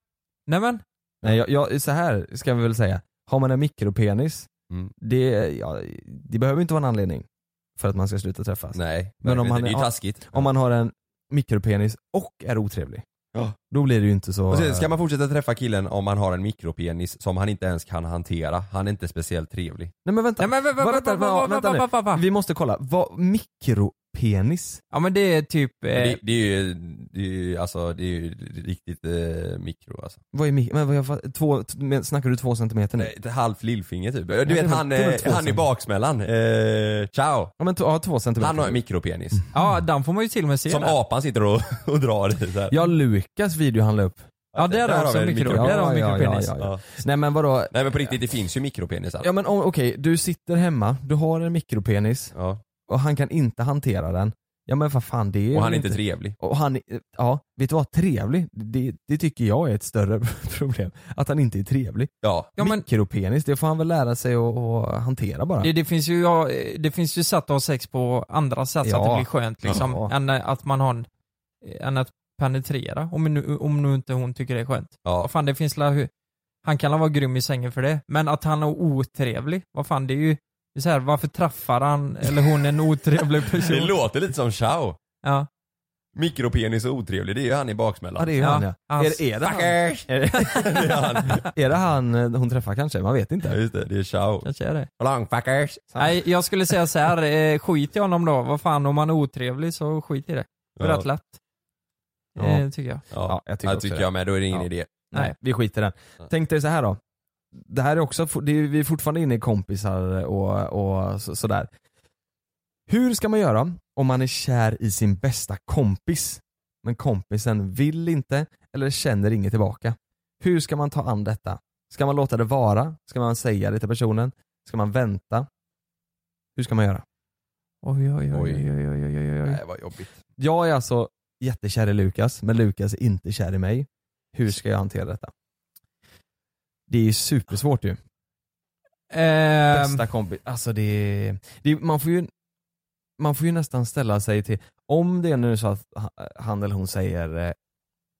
Speaker 5: Nämen.
Speaker 4: Nej, jag, jag, så här ska vi väl säga. Har man en mikropenis,
Speaker 6: Mm.
Speaker 4: det, ja, det behöver inte vara en anledning för att man ska sluta träffas.
Speaker 6: Nej,
Speaker 4: Men om
Speaker 6: verkligen
Speaker 4: han
Speaker 6: inte. det är
Speaker 4: är-
Speaker 6: ju taskigt.
Speaker 4: Om man har en mikropenis och är otrevlig, då blir det ju inte så...
Speaker 6: Och sen ska man fortsätta träffa killen om han har en mikropenis som han inte ens kan hantera. Han är inte speciellt trevlig.
Speaker 4: Nej men vänta.
Speaker 5: Nämen, va, va, va,
Speaker 4: Vänta,
Speaker 5: va, va, va,
Speaker 4: vänta
Speaker 5: va,
Speaker 4: nu.
Speaker 5: va, va, va.
Speaker 4: Vi måste kolla, vad mikropenis penis.
Speaker 5: Ja men det är typ... Eh,
Speaker 6: Det, det är ju, det är ju, alltså, det är ju riktigt eh, mikro alltså.
Speaker 4: Vad är mi- men vad jag, fatt- två, t- men snackar du två centimeter nu?
Speaker 6: Nej, Ett halvt lillfinger typ. Du
Speaker 4: det är
Speaker 6: vet
Speaker 4: väl-
Speaker 6: han,
Speaker 4: det är väl
Speaker 6: eh,
Speaker 4: två
Speaker 6: han i
Speaker 4: centimeter.
Speaker 6: baksmällan. Eh, ciao.
Speaker 4: Ja men t- ja, två centimeter.
Speaker 6: Han har en mikropenis.
Speaker 4: Mm.
Speaker 5: Ja, den får man ju till och med se
Speaker 6: Som
Speaker 5: där.
Speaker 6: apan sitter och, [laughs] och drar i. Så här.
Speaker 4: Ja Lukas video han la upp.
Speaker 5: Ja, där,
Speaker 6: Där
Speaker 5: har
Speaker 6: har
Speaker 5: också
Speaker 6: vi
Speaker 5: en
Speaker 6: en
Speaker 5: mikro.
Speaker 6: mikro.
Speaker 5: Där har vi
Speaker 4: Ja, ja,
Speaker 5: mikropenis.
Speaker 4: ja,
Speaker 6: Ja.
Speaker 4: Nej men vadå?
Speaker 6: Nej men på riktigt, det finns ju alltså. mikropenisar.
Speaker 4: Ja men om- okej, du sitter hemma, du har en mikropenis
Speaker 6: Ja.
Speaker 4: och han kan inte hantera den. Ja men vad fan det är
Speaker 6: Och han
Speaker 4: väl
Speaker 6: är inte trevlig.
Speaker 4: Och han, ja, vet du vad? Trevlig, det, det tycker jag är ett större [laughs] problem. Att han inte är trevlig.
Speaker 6: Ja.
Speaker 5: Ja, men-
Speaker 4: Mikropenis, det får han väl lära sig att att hantera bara.
Speaker 5: Det, det, finns ju, ja, det finns ju sätt att ha sex på andra sätt så att
Speaker 4: Ja.
Speaker 5: det blir skönt liksom.
Speaker 4: Ja.
Speaker 5: Än eh, att man har en, än att penetrera. Om nu, om nu inte hon tycker det är skönt.
Speaker 6: Ja.
Speaker 5: Vad fan det finns la, hu- han kan la vara grym i sängen för det. Men att han är otrevlig, vad fan det är ju det är så här, varför träffar han eller hon en otrevlig
Speaker 6: Det
Speaker 5: person?
Speaker 6: låter lite som ciao.
Speaker 5: Ja,
Speaker 6: Mikropenis och otrevlig, det är ju han i baksmällan.
Speaker 4: ja det är ju
Speaker 5: Ja,
Speaker 4: han ja.
Speaker 5: hans-
Speaker 4: Är, är, det han, [laughs]
Speaker 6: Tackers! det är han.
Speaker 4: är det han eh, hon träffar kanske? Man vet
Speaker 6: Ja,
Speaker 4: inte.
Speaker 6: just det, det är ciao.
Speaker 5: kanske är det.
Speaker 6: Longfuckers.
Speaker 5: Nej, jag skulle säga så här, eh, skit i honom då. Vad fan, om han är otrevlig så skit i det. Det är
Speaker 6: Ja.
Speaker 5: Rätt lätt.
Speaker 4: Ja.
Speaker 5: Eh, tycker jag.
Speaker 6: Ja,
Speaker 4: jag
Speaker 6: det
Speaker 4: också
Speaker 6: tycker
Speaker 4: det.
Speaker 6: jag med. Då är det ingen
Speaker 4: Ja.
Speaker 6: idé.
Speaker 4: Nej, vi skiter i den.
Speaker 6: Ja.
Speaker 4: Tänk dig så här då. Det här är också, for- det är, vi är fortfarande inne i kompisar och, och så, sådär. Hur ska man göra om man är kär i sin bästa kompis men kompisen vill inte eller känner inget tillbaka? Hur ska man ta an detta? Ska man låta det vara? Ska man säga det till personen? Ska man vänta? Hur ska man göra?
Speaker 5: Oj, oj, oj,
Speaker 6: Oj.
Speaker 5: oj, oj, oj, oj,
Speaker 4: Mm.
Speaker 5: oj.
Speaker 6: Nej, vad jobbigt.
Speaker 4: Jag är alltså jättekär i Lukas, men Lukas är inte kär i mig. Hur ska jag hantera detta? Det är ju supersvårt ju.
Speaker 5: Ehm,
Speaker 4: Bästa kompis, alltså det, är- det är- man, får ju, man får ju nästan ställa sig till, om det är nu så att ha- han eller hon säger eh,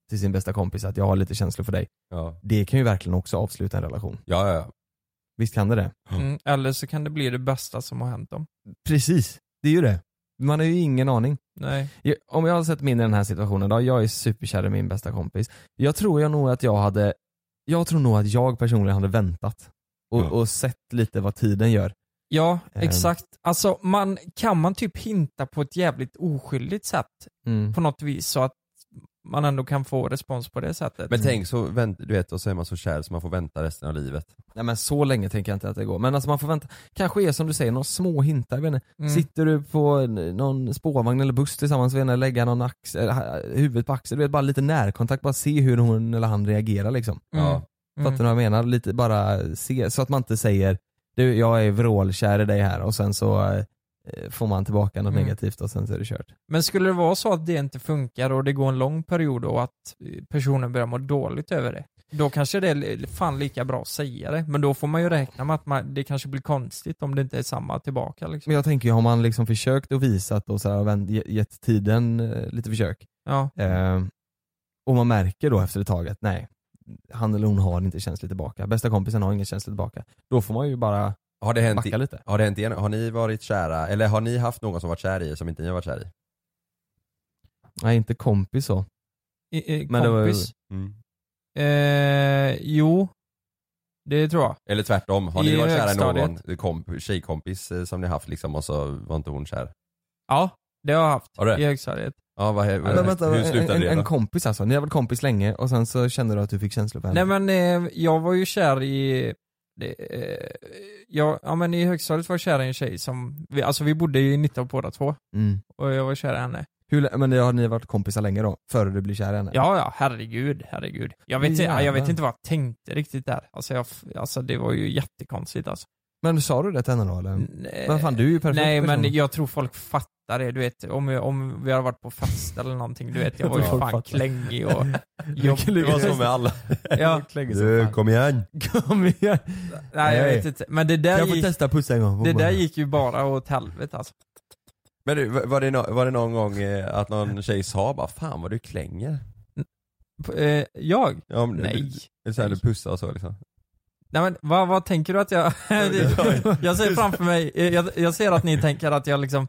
Speaker 4: till sin bästa kompis att jag har lite känslor för dig,
Speaker 6: Ja,
Speaker 4: det kan ju verkligen också avsluta en relation.
Speaker 6: ja, ja.
Speaker 4: Visst kan det det?
Speaker 5: Mm, eller så kan det bli det bästa som har hänt dem.
Speaker 4: Precis, det är ju det. Man har ju ingen aning.
Speaker 5: Nej.
Speaker 4: Jag- Om jag har sett mig in i den här situationen då, jag är superkär i min bästa kompis. Jag tror jag nog att jag hade, jag tror nog att jag personligen hade väntat och,
Speaker 6: Ja.
Speaker 4: och sett lite vad tiden gör.
Speaker 5: Ja,
Speaker 4: Ehm.
Speaker 5: exakt. Alltså, man, kan man typ hinta på ett jävligt oskyldigt sätt på något vis så att man ändå kan få respons på det sättet?
Speaker 6: Men tänk så, vänt, du vet, och så är man så kär så man får vänta resten av livet.
Speaker 4: Nej men så länge tänker jag inte att det går. Men alltså man får vänta, kanske är som du säger, några små hintar. Jag vet inte.
Speaker 5: Mm.
Speaker 4: Sitter du på en- någon spårvagn eller buss tillsammans, vet inte, lägga någon axel, ha- huvudet på axeln, du vet bara lite närkontakt, bara se hur hon eller han reagerar liksom.
Speaker 5: Mm.
Speaker 6: Ja.
Speaker 5: Mm.
Speaker 4: Fattar du vad jag menar? Lite bara se, så att man inte säger du jag är vrålkär i dig här och sen så eh, får man tillbaka något
Speaker 5: Mm.
Speaker 4: negativt och sen så är det kört.
Speaker 5: Men skulle det vara så att det inte funkar och det går en lång period och att eh, personen börjar må dåligt över det, då kanske det är li- fan lika bra att säga det. Men då får man ju räkna med att man, det kanske blir konstigt om det inte är samma tillbaka. Liksom.
Speaker 4: Men jag tänker ju, har man liksom försökt och visat och så här, vänt- ge- gett tiden eh, lite försök
Speaker 5: Ja.
Speaker 4: Eh, och man märker då efter ett tag att nej, han eller hon har inte känsligt tillbaka. Bästa kompisen har ingen känsligt tillbaka. Då får man ju bara
Speaker 6: Har det hänt,
Speaker 4: backa lite.
Speaker 6: har det hänt igen? Har ni varit kära, eller har ni haft någon som varit kär i er som inte ni har varit kär i?
Speaker 4: Nej, inte kompis så.
Speaker 5: I, i,
Speaker 4: Men det var-
Speaker 5: kompis?
Speaker 4: Mm.
Speaker 5: Eh, jo, det tror jag.
Speaker 6: Eller tvärtom, har
Speaker 5: I
Speaker 6: ni varit kära i
Speaker 5: högstadiet.
Speaker 6: någon eh, komp, tjejkompis eh, som ni haft liksom och så var inte hon kär?
Speaker 5: Ja, det har jag haft
Speaker 6: Har du det?
Speaker 5: i högstadiet.
Speaker 6: Ja, vad, vad,
Speaker 4: Men vänta,
Speaker 6: hur
Speaker 4: en,
Speaker 6: slutade
Speaker 4: en,
Speaker 6: det då?
Speaker 4: en kompis alltså. Ni har varit kompis länge och sen så kände du att du fick känslor för henne.
Speaker 5: Nej men eh, jag var ju kär i, det, eh, jag, ja men i högstadiet var jag kär i en tjej som, vi, alltså vi bodde ju i 19 båda två
Speaker 4: Mm.
Speaker 5: och jag var kär i henne.
Speaker 4: Hur, lä- men det har ni varit kompisar länge då? Före du blir kär i henne?
Speaker 5: Ja ja, herregud, herregud. Jag vet, ja, jag vet
Speaker 4: Jävlar.
Speaker 5: inte vad jag tänkte riktigt där. Alltså, jag, f- alltså det var ju jättekonstigt alltså. eh,
Speaker 4: Men sa du det till henne då eller?
Speaker 5: Nej.
Speaker 4: Men fan du är ju perfekt
Speaker 5: Nej
Speaker 4: person.
Speaker 5: men jag tror folk fattar det, du vet om, jag- om vi har varit på fest eller någonting, du vet jag
Speaker 4: Jag
Speaker 5: var ju
Speaker 4: tror
Speaker 5: fan
Speaker 4: folk fattar.
Speaker 5: klängig
Speaker 4: [laughs]
Speaker 5: och
Speaker 6: Det
Speaker 5: jobbig.
Speaker 6: var så
Speaker 5: [laughs]
Speaker 6: med alla.
Speaker 5: Ja.
Speaker 6: Du, kom igen.
Speaker 4: Kom igen.
Speaker 5: Nej jag
Speaker 4: Nej.
Speaker 5: vet inte, men det där,
Speaker 4: Jag får
Speaker 5: gick,
Speaker 4: testa pussa en gång.
Speaker 5: det där gick ju bara åt helvete alltså.
Speaker 6: Men du, var- var det, nå- var det någon gång eh, att någon tjej sa bara 'Fan vad du klänger'
Speaker 5: P- Eh, jag?
Speaker 6: ja, men-
Speaker 5: Nej.
Speaker 6: Eller så här, du pussar och så liksom.
Speaker 5: Nej men vad, vad tänker du att jag... [laughs] jag ser framför mig, eh, jag, jag ser att ni tänker att jag liksom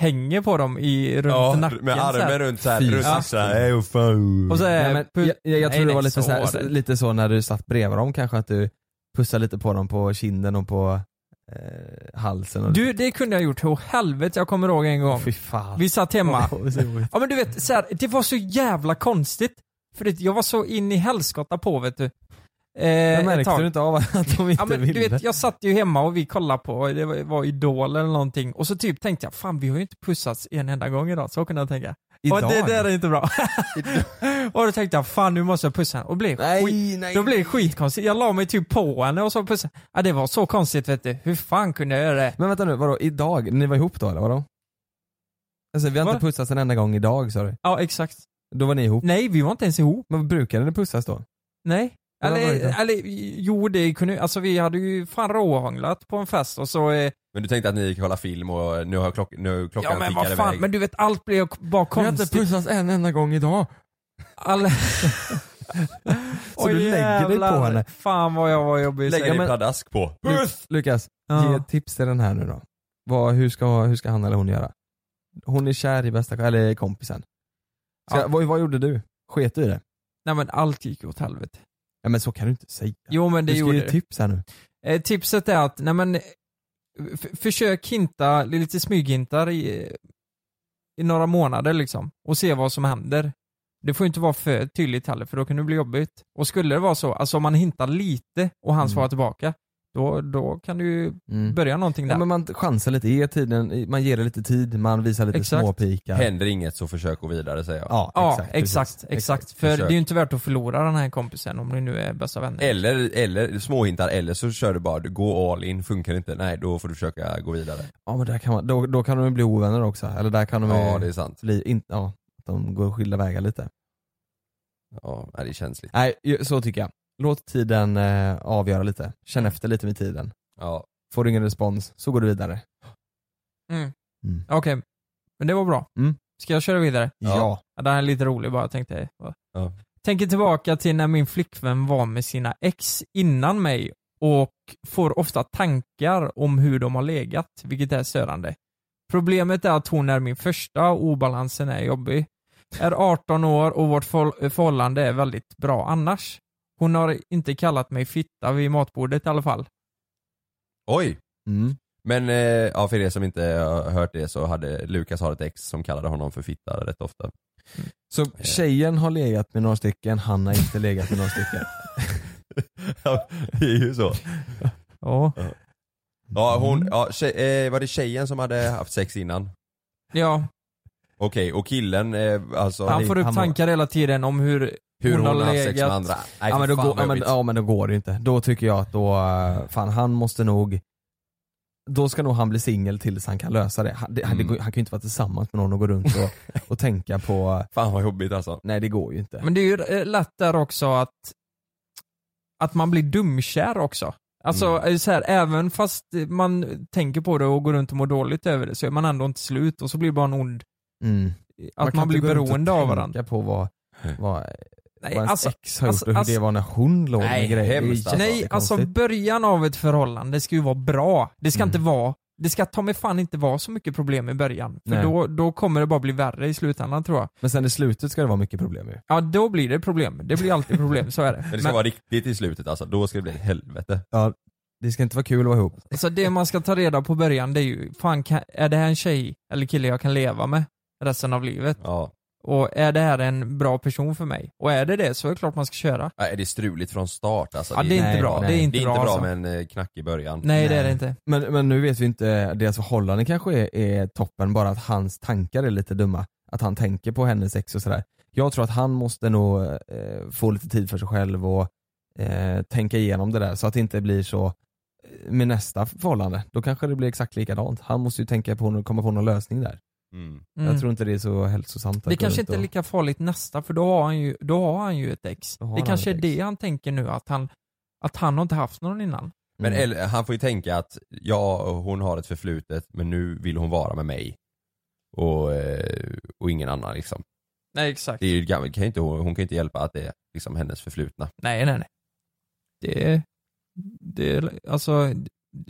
Speaker 5: hänger på dem i, runt nacken
Speaker 6: med
Speaker 5: så här.
Speaker 6: armen runt såhär,
Speaker 4: Fy
Speaker 6: runt
Speaker 5: fan.
Speaker 6: axlarna. Ey, vad fan.
Speaker 5: Och så är
Speaker 4: Nej, men, jag, jag, jag
Speaker 5: Eh, nej,
Speaker 4: tror det
Speaker 5: nej,
Speaker 4: var lite
Speaker 5: så
Speaker 4: så, här,
Speaker 5: var det.
Speaker 4: lite så när du satt bredvid dem kanske att du pussade lite på dem på kinden och på eh, halsen. Och
Speaker 5: Du, det kunde jag gjort. Åh helvete, jag kommer ihåg en gång.
Speaker 4: Fy fan.
Speaker 5: Vi Eh, satt
Speaker 4: [laughs]
Speaker 5: hemma.
Speaker 4: Åh, så jobbigt.
Speaker 5: Ja men du vet, så här, det var så jävla konstigt. För det, jag var så in i helskotta på vet du. Eh,
Speaker 4: Jag
Speaker 5: ett
Speaker 4: märkte
Speaker 5: tag.
Speaker 4: du inte av att de inte
Speaker 5: Ja, men,
Speaker 4: ville?
Speaker 5: du vet, jag satt ju hemma och vi kollade på, det var, var Idol eller någonting, och så typ tänkte jag fan vi har ju inte pussats en enda gång idag, så kunde jag tänka.
Speaker 4: Idag?
Speaker 5: Och det där är inte
Speaker 4: [laughs]
Speaker 5: bra. och då tänkte jag fan nu måste jag pussa henne, och blev skit,
Speaker 4: Nej, nej.
Speaker 5: då blev det skitkonstigt. Jag la mig typ på henne och så pussade ja, det var så konstigt vet du, hur fan kunde jag göra det?
Speaker 4: Men vänta nu, vadå idag? Ni var ihop då eller vadå? Alltså vi har inte
Speaker 5: Va? Mm.
Speaker 4: pussats en enda gång idag sa du?
Speaker 5: Ja exakt.
Speaker 4: Då var ni ihop?
Speaker 5: Nej vi var inte ens ihop.
Speaker 4: Men brukade ni pussas då?
Speaker 5: Nej.
Speaker 4: Ja, vad var det
Speaker 5: Eller,
Speaker 4: då?
Speaker 5: eller jo det kunde alltså vi hade ju fan råhånglat på en fest och så eh,
Speaker 6: Men du tänkte att ni gick och kollade film och nu har klock, nu klockan
Speaker 5: Ja men
Speaker 6: tickar
Speaker 5: vad fan,
Speaker 6: iväg.
Speaker 5: men du vet allt blev bara konstigt.
Speaker 4: pussats en enda gång idag.
Speaker 5: Alla...
Speaker 4: [laughs] Så du lägger dig på henne.
Speaker 5: Fan vad jag var jobbig.
Speaker 6: Lägger
Speaker 5: säger
Speaker 6: dig
Speaker 5: jag.
Speaker 6: pladask på.
Speaker 4: Lu- Lukas,
Speaker 5: Ja.
Speaker 4: ge ett tips till den här nu då. Vad, hur, ska, hur ska han eller hon göra? Hon är kär i bästa eller kompisen. Ska,
Speaker 5: Ja.
Speaker 4: vad, vad gjorde du? Sket du i det?
Speaker 5: Nej men allt gick åt helvete.
Speaker 4: Ja, men så kan du inte säga.
Speaker 5: Jo men det
Speaker 4: du ska
Speaker 5: gjorde
Speaker 4: ge
Speaker 5: det.
Speaker 4: tips här nu.
Speaker 5: Eh, tipset är att, nej men, eh, f- försök hinta, lite smyghintar i, eh, i några månader liksom. Och se vad som händer. Det får ju inte vara för tydligt heller för då kan det bli jobbigt. Och skulle det vara så, alltså om man hintar lite och han
Speaker 4: Mm.
Speaker 5: svarar tillbaka, då, då kan du ju
Speaker 4: Mm.
Speaker 5: börja någonting där.
Speaker 4: Ja, men man chansar lite, ger tiden, man ger det lite tid, man visar lite
Speaker 5: Exakt.
Speaker 4: småpikar.
Speaker 6: Händer inget så försök gå vidare säger jag.
Speaker 4: Ja,
Speaker 5: Ja,
Speaker 4: exakt.
Speaker 5: exakt,
Speaker 4: precis.
Speaker 5: exakt, För
Speaker 6: Försök.
Speaker 5: det är ju inte värt att förlora den här kompisen om ni nu är bästa vänner.
Speaker 6: Eller, eller småhintar, eller så kör du bara du, gå all in, funkar inte, nej då får du försöka gå vidare.
Speaker 5: Mm.
Speaker 4: Ja men där kan man, då, då kan de ju bli ovänner också, eller där kan de
Speaker 6: Ja
Speaker 4: ju
Speaker 6: det är sant.
Speaker 4: bli, in, ja, att de går skilda vägar lite.
Speaker 6: Ja, nej, det är känsligt.
Speaker 4: Nej, ju- så tycker jag. Låt tiden eh, avgöra lite, känn
Speaker 5: Mm.
Speaker 4: efter lite med tiden.
Speaker 6: Ja.
Speaker 4: Får du ingen respons, så går du vidare.
Speaker 5: Mm.
Speaker 4: Mm.
Speaker 5: Okej, men det var bra.
Speaker 4: Mm.
Speaker 5: Ska jag köra vidare?
Speaker 4: Ja.
Speaker 5: Ja, den här är lite rolig bara, tänkte jag.
Speaker 6: Ja.
Speaker 5: Tänker tillbaka till när min flickvän var med sina ex innan mig och får ofta tankar om hur de har legat, vilket är störande. Problemet är att hon är min första och obalansen är jobbig. Är 18 år och vårt förhåll- förhållande är väldigt bra annars. Hon har inte kallat mig fitta vid matbordet i alla fall.
Speaker 6: Oj!
Speaker 4: Mm.
Speaker 6: Men eh, ja, för er som inte har hört det så hade Lukas har ett ex som kallade honom för fitta rätt ofta. [laughs]
Speaker 4: Så Eh. tjejen har legat med några stycken, han har inte legat med
Speaker 5: [laughs]
Speaker 4: några stycken.
Speaker 6: Ja, det är ju så.
Speaker 5: Ja.
Speaker 6: Ja, hon, ja, tje, eh, var det tjejen som hade haft sex innan?
Speaker 5: ja.
Speaker 6: Okej, och killen, eh, alltså
Speaker 5: Han får upp
Speaker 4: han var-
Speaker 5: tankar hela tiden om hur...
Speaker 6: hur hon
Speaker 5: hon har
Speaker 6: har haft sex med
Speaker 5: legat.
Speaker 6: andra. Nej,
Speaker 4: ja, men
Speaker 6: för
Speaker 4: då
Speaker 6: fan
Speaker 4: går,
Speaker 6: vad
Speaker 4: ja, men,
Speaker 6: jobbigt.
Speaker 4: ja men då går det ju inte. Då tycker jag att då, eh, fan han måste nog då ska nog han bli singel tills han kan lösa det. Han, det, han- det,
Speaker 6: Mm.
Speaker 4: går- han kan ju inte vara tillsammans med någon och gå runt
Speaker 5: [laughs]
Speaker 4: och, och tänka på,
Speaker 6: Fan vad jobbigt alltså.
Speaker 4: nej det går ju inte.
Speaker 5: Men det är ju eh, lätt där också att... Att man blir dumkär också. Alltså
Speaker 4: Mm.
Speaker 5: eh, så här, även fast man tänker på det och går runt och mår dåligt över det så är man ändå inte slut och så blir det bara en ond...
Speaker 4: Mm.
Speaker 5: Att man,
Speaker 4: kan
Speaker 5: blir
Speaker 4: inte gå runt och
Speaker 5: beroende av varandra.
Speaker 4: Tänka på vad, vad,
Speaker 5: Nej,
Speaker 4: vad ens
Speaker 5: alltså,
Speaker 4: ex har gjort
Speaker 5: alltså,
Speaker 4: och hur
Speaker 5: alltså-
Speaker 4: det var när hon låg
Speaker 6: Nej,
Speaker 4: med grejer. Det är ju
Speaker 6: hemskt alltså.
Speaker 5: nej, alltså
Speaker 4: jättekonstigt.
Speaker 5: början av ett förhållande ska ju vara bra. Det ska
Speaker 4: Mm.
Speaker 5: inte vara... Det ska ta mig fan inte vara så mycket problem i början. För
Speaker 4: Nej.
Speaker 5: då, då kommer det bara bli värre i slutändan tror jag.
Speaker 4: Men sen i slutet ska det vara mycket problem ju.
Speaker 5: Ja, då blir det problem. Det blir alltid problem, så
Speaker 4: [laughs]
Speaker 5: är det.
Speaker 6: Men det ska vara riktigt i slutet alltså, då ska det bli ett helvete.
Speaker 4: Ja, det ska inte vara kul att vara ihop.
Speaker 5: Alltså det man ska ta reda på i början det är ju, fan kan, är det här en tjej eller kille jag kan leva med resten av livet?
Speaker 6: Ja.
Speaker 5: Och är det här en bra person för mig? Och är det det så är det klart man ska köra.
Speaker 6: Ja, Är det struligt från start alltså?
Speaker 5: Ja, det är inte
Speaker 4: nej,
Speaker 5: bra.
Speaker 4: nej.
Speaker 5: Det är
Speaker 6: det
Speaker 5: inte bra, alltså.
Speaker 6: med en eh, knack i början.
Speaker 5: Nej, det är det inte.
Speaker 4: Men, men nu vet vi inte, deras förhållande kanske är, är toppen, bara att hans tankar är lite dumma. Att han tänker på hennes ex och sådär. Jag tror att han måste nog eh, få lite tid för sig själv och eh, tänka igenom det där så att det inte blir så eh, med nästa förhållande. Då kanske det blir exakt likadant. Han måste ju tänka på och komma på någon lösning där.
Speaker 6: Mm.
Speaker 5: Mm.
Speaker 4: Jag tror inte det är så hälsosamt. att
Speaker 5: det
Speaker 4: gå
Speaker 5: kanske
Speaker 4: runt
Speaker 5: inte är
Speaker 4: och-
Speaker 5: lika farligt nästa för då har han ju, då har han ju ett ex.
Speaker 4: Då har
Speaker 5: Det
Speaker 4: han
Speaker 5: kanske är
Speaker 4: ett
Speaker 5: det
Speaker 4: ex.
Speaker 5: han tänker nu att han, att han har inte haft någon innan.
Speaker 6: Men
Speaker 4: Mm.
Speaker 6: eller, han får ju tänka att ja, hon har ett förflutet men nu vill hon vara med mig. Och, eh, och ingen annan liksom.
Speaker 5: Nej exakt.
Speaker 6: Det är ju gammalt, kan ju inte, hon hon kan ju inte hjälpa att det är liksom hennes förflutna.
Speaker 5: Nej nej nej. Det, det, alltså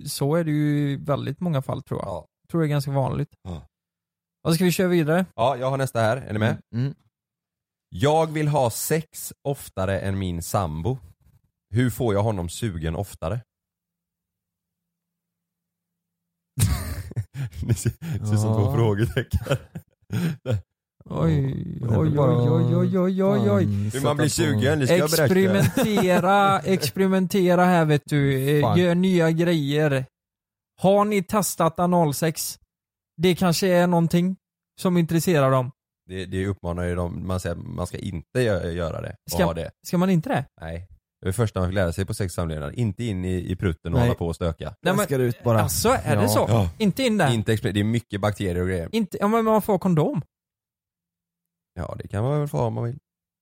Speaker 5: så är det ju i väldigt många fall tror jag.
Speaker 6: Ja.
Speaker 5: Jag tror det är ganska vanligt.
Speaker 6: Ja.
Speaker 5: Vad ska vi köra vidare?
Speaker 6: ja, jag har nästa här, är ni med?
Speaker 4: Mm.
Speaker 6: Jag vill ha sex oftare än min [laughs] sambo. Hur får jag honom sugen oftare? Ni ser, ser ut som två
Speaker 5: Ja.
Speaker 6: frågetecken.
Speaker 5: Oj,
Speaker 4: Och det är
Speaker 5: oj,
Speaker 4: bara-
Speaker 5: oj, oj, oj, oj, oj.
Speaker 4: Fan,
Speaker 6: Hur man blir
Speaker 4: sätta på-
Speaker 6: 20 ni ska jag beräkna.
Speaker 5: Experimentera, experimentera här vet du. Eh,
Speaker 4: Fan.
Speaker 5: Gör nya grejer. Har ni testat analsex? Det kanske är någonting som intresserar dem.
Speaker 6: Det, det uppmanar ju dem, man säger att man ska inte gö- göra det och
Speaker 5: Ska-
Speaker 6: ha det.
Speaker 5: Ska man inte det?
Speaker 6: Nej. Det är det första man fick lära sig på sex och samlevnad, inte in i, i prutten och
Speaker 4: Nej.
Speaker 6: hålla på och stöka.
Speaker 5: Nej, men,
Speaker 4: Läskar ut bara.
Speaker 5: alltså är det
Speaker 4: Ja.
Speaker 5: så?
Speaker 6: Ja.
Speaker 5: Inte in där?
Speaker 6: Inte exper- det är mycket bakterier och grejer.
Speaker 5: Inte, ja men man får kondom.
Speaker 6: Ja det kan man väl få ha om man vill.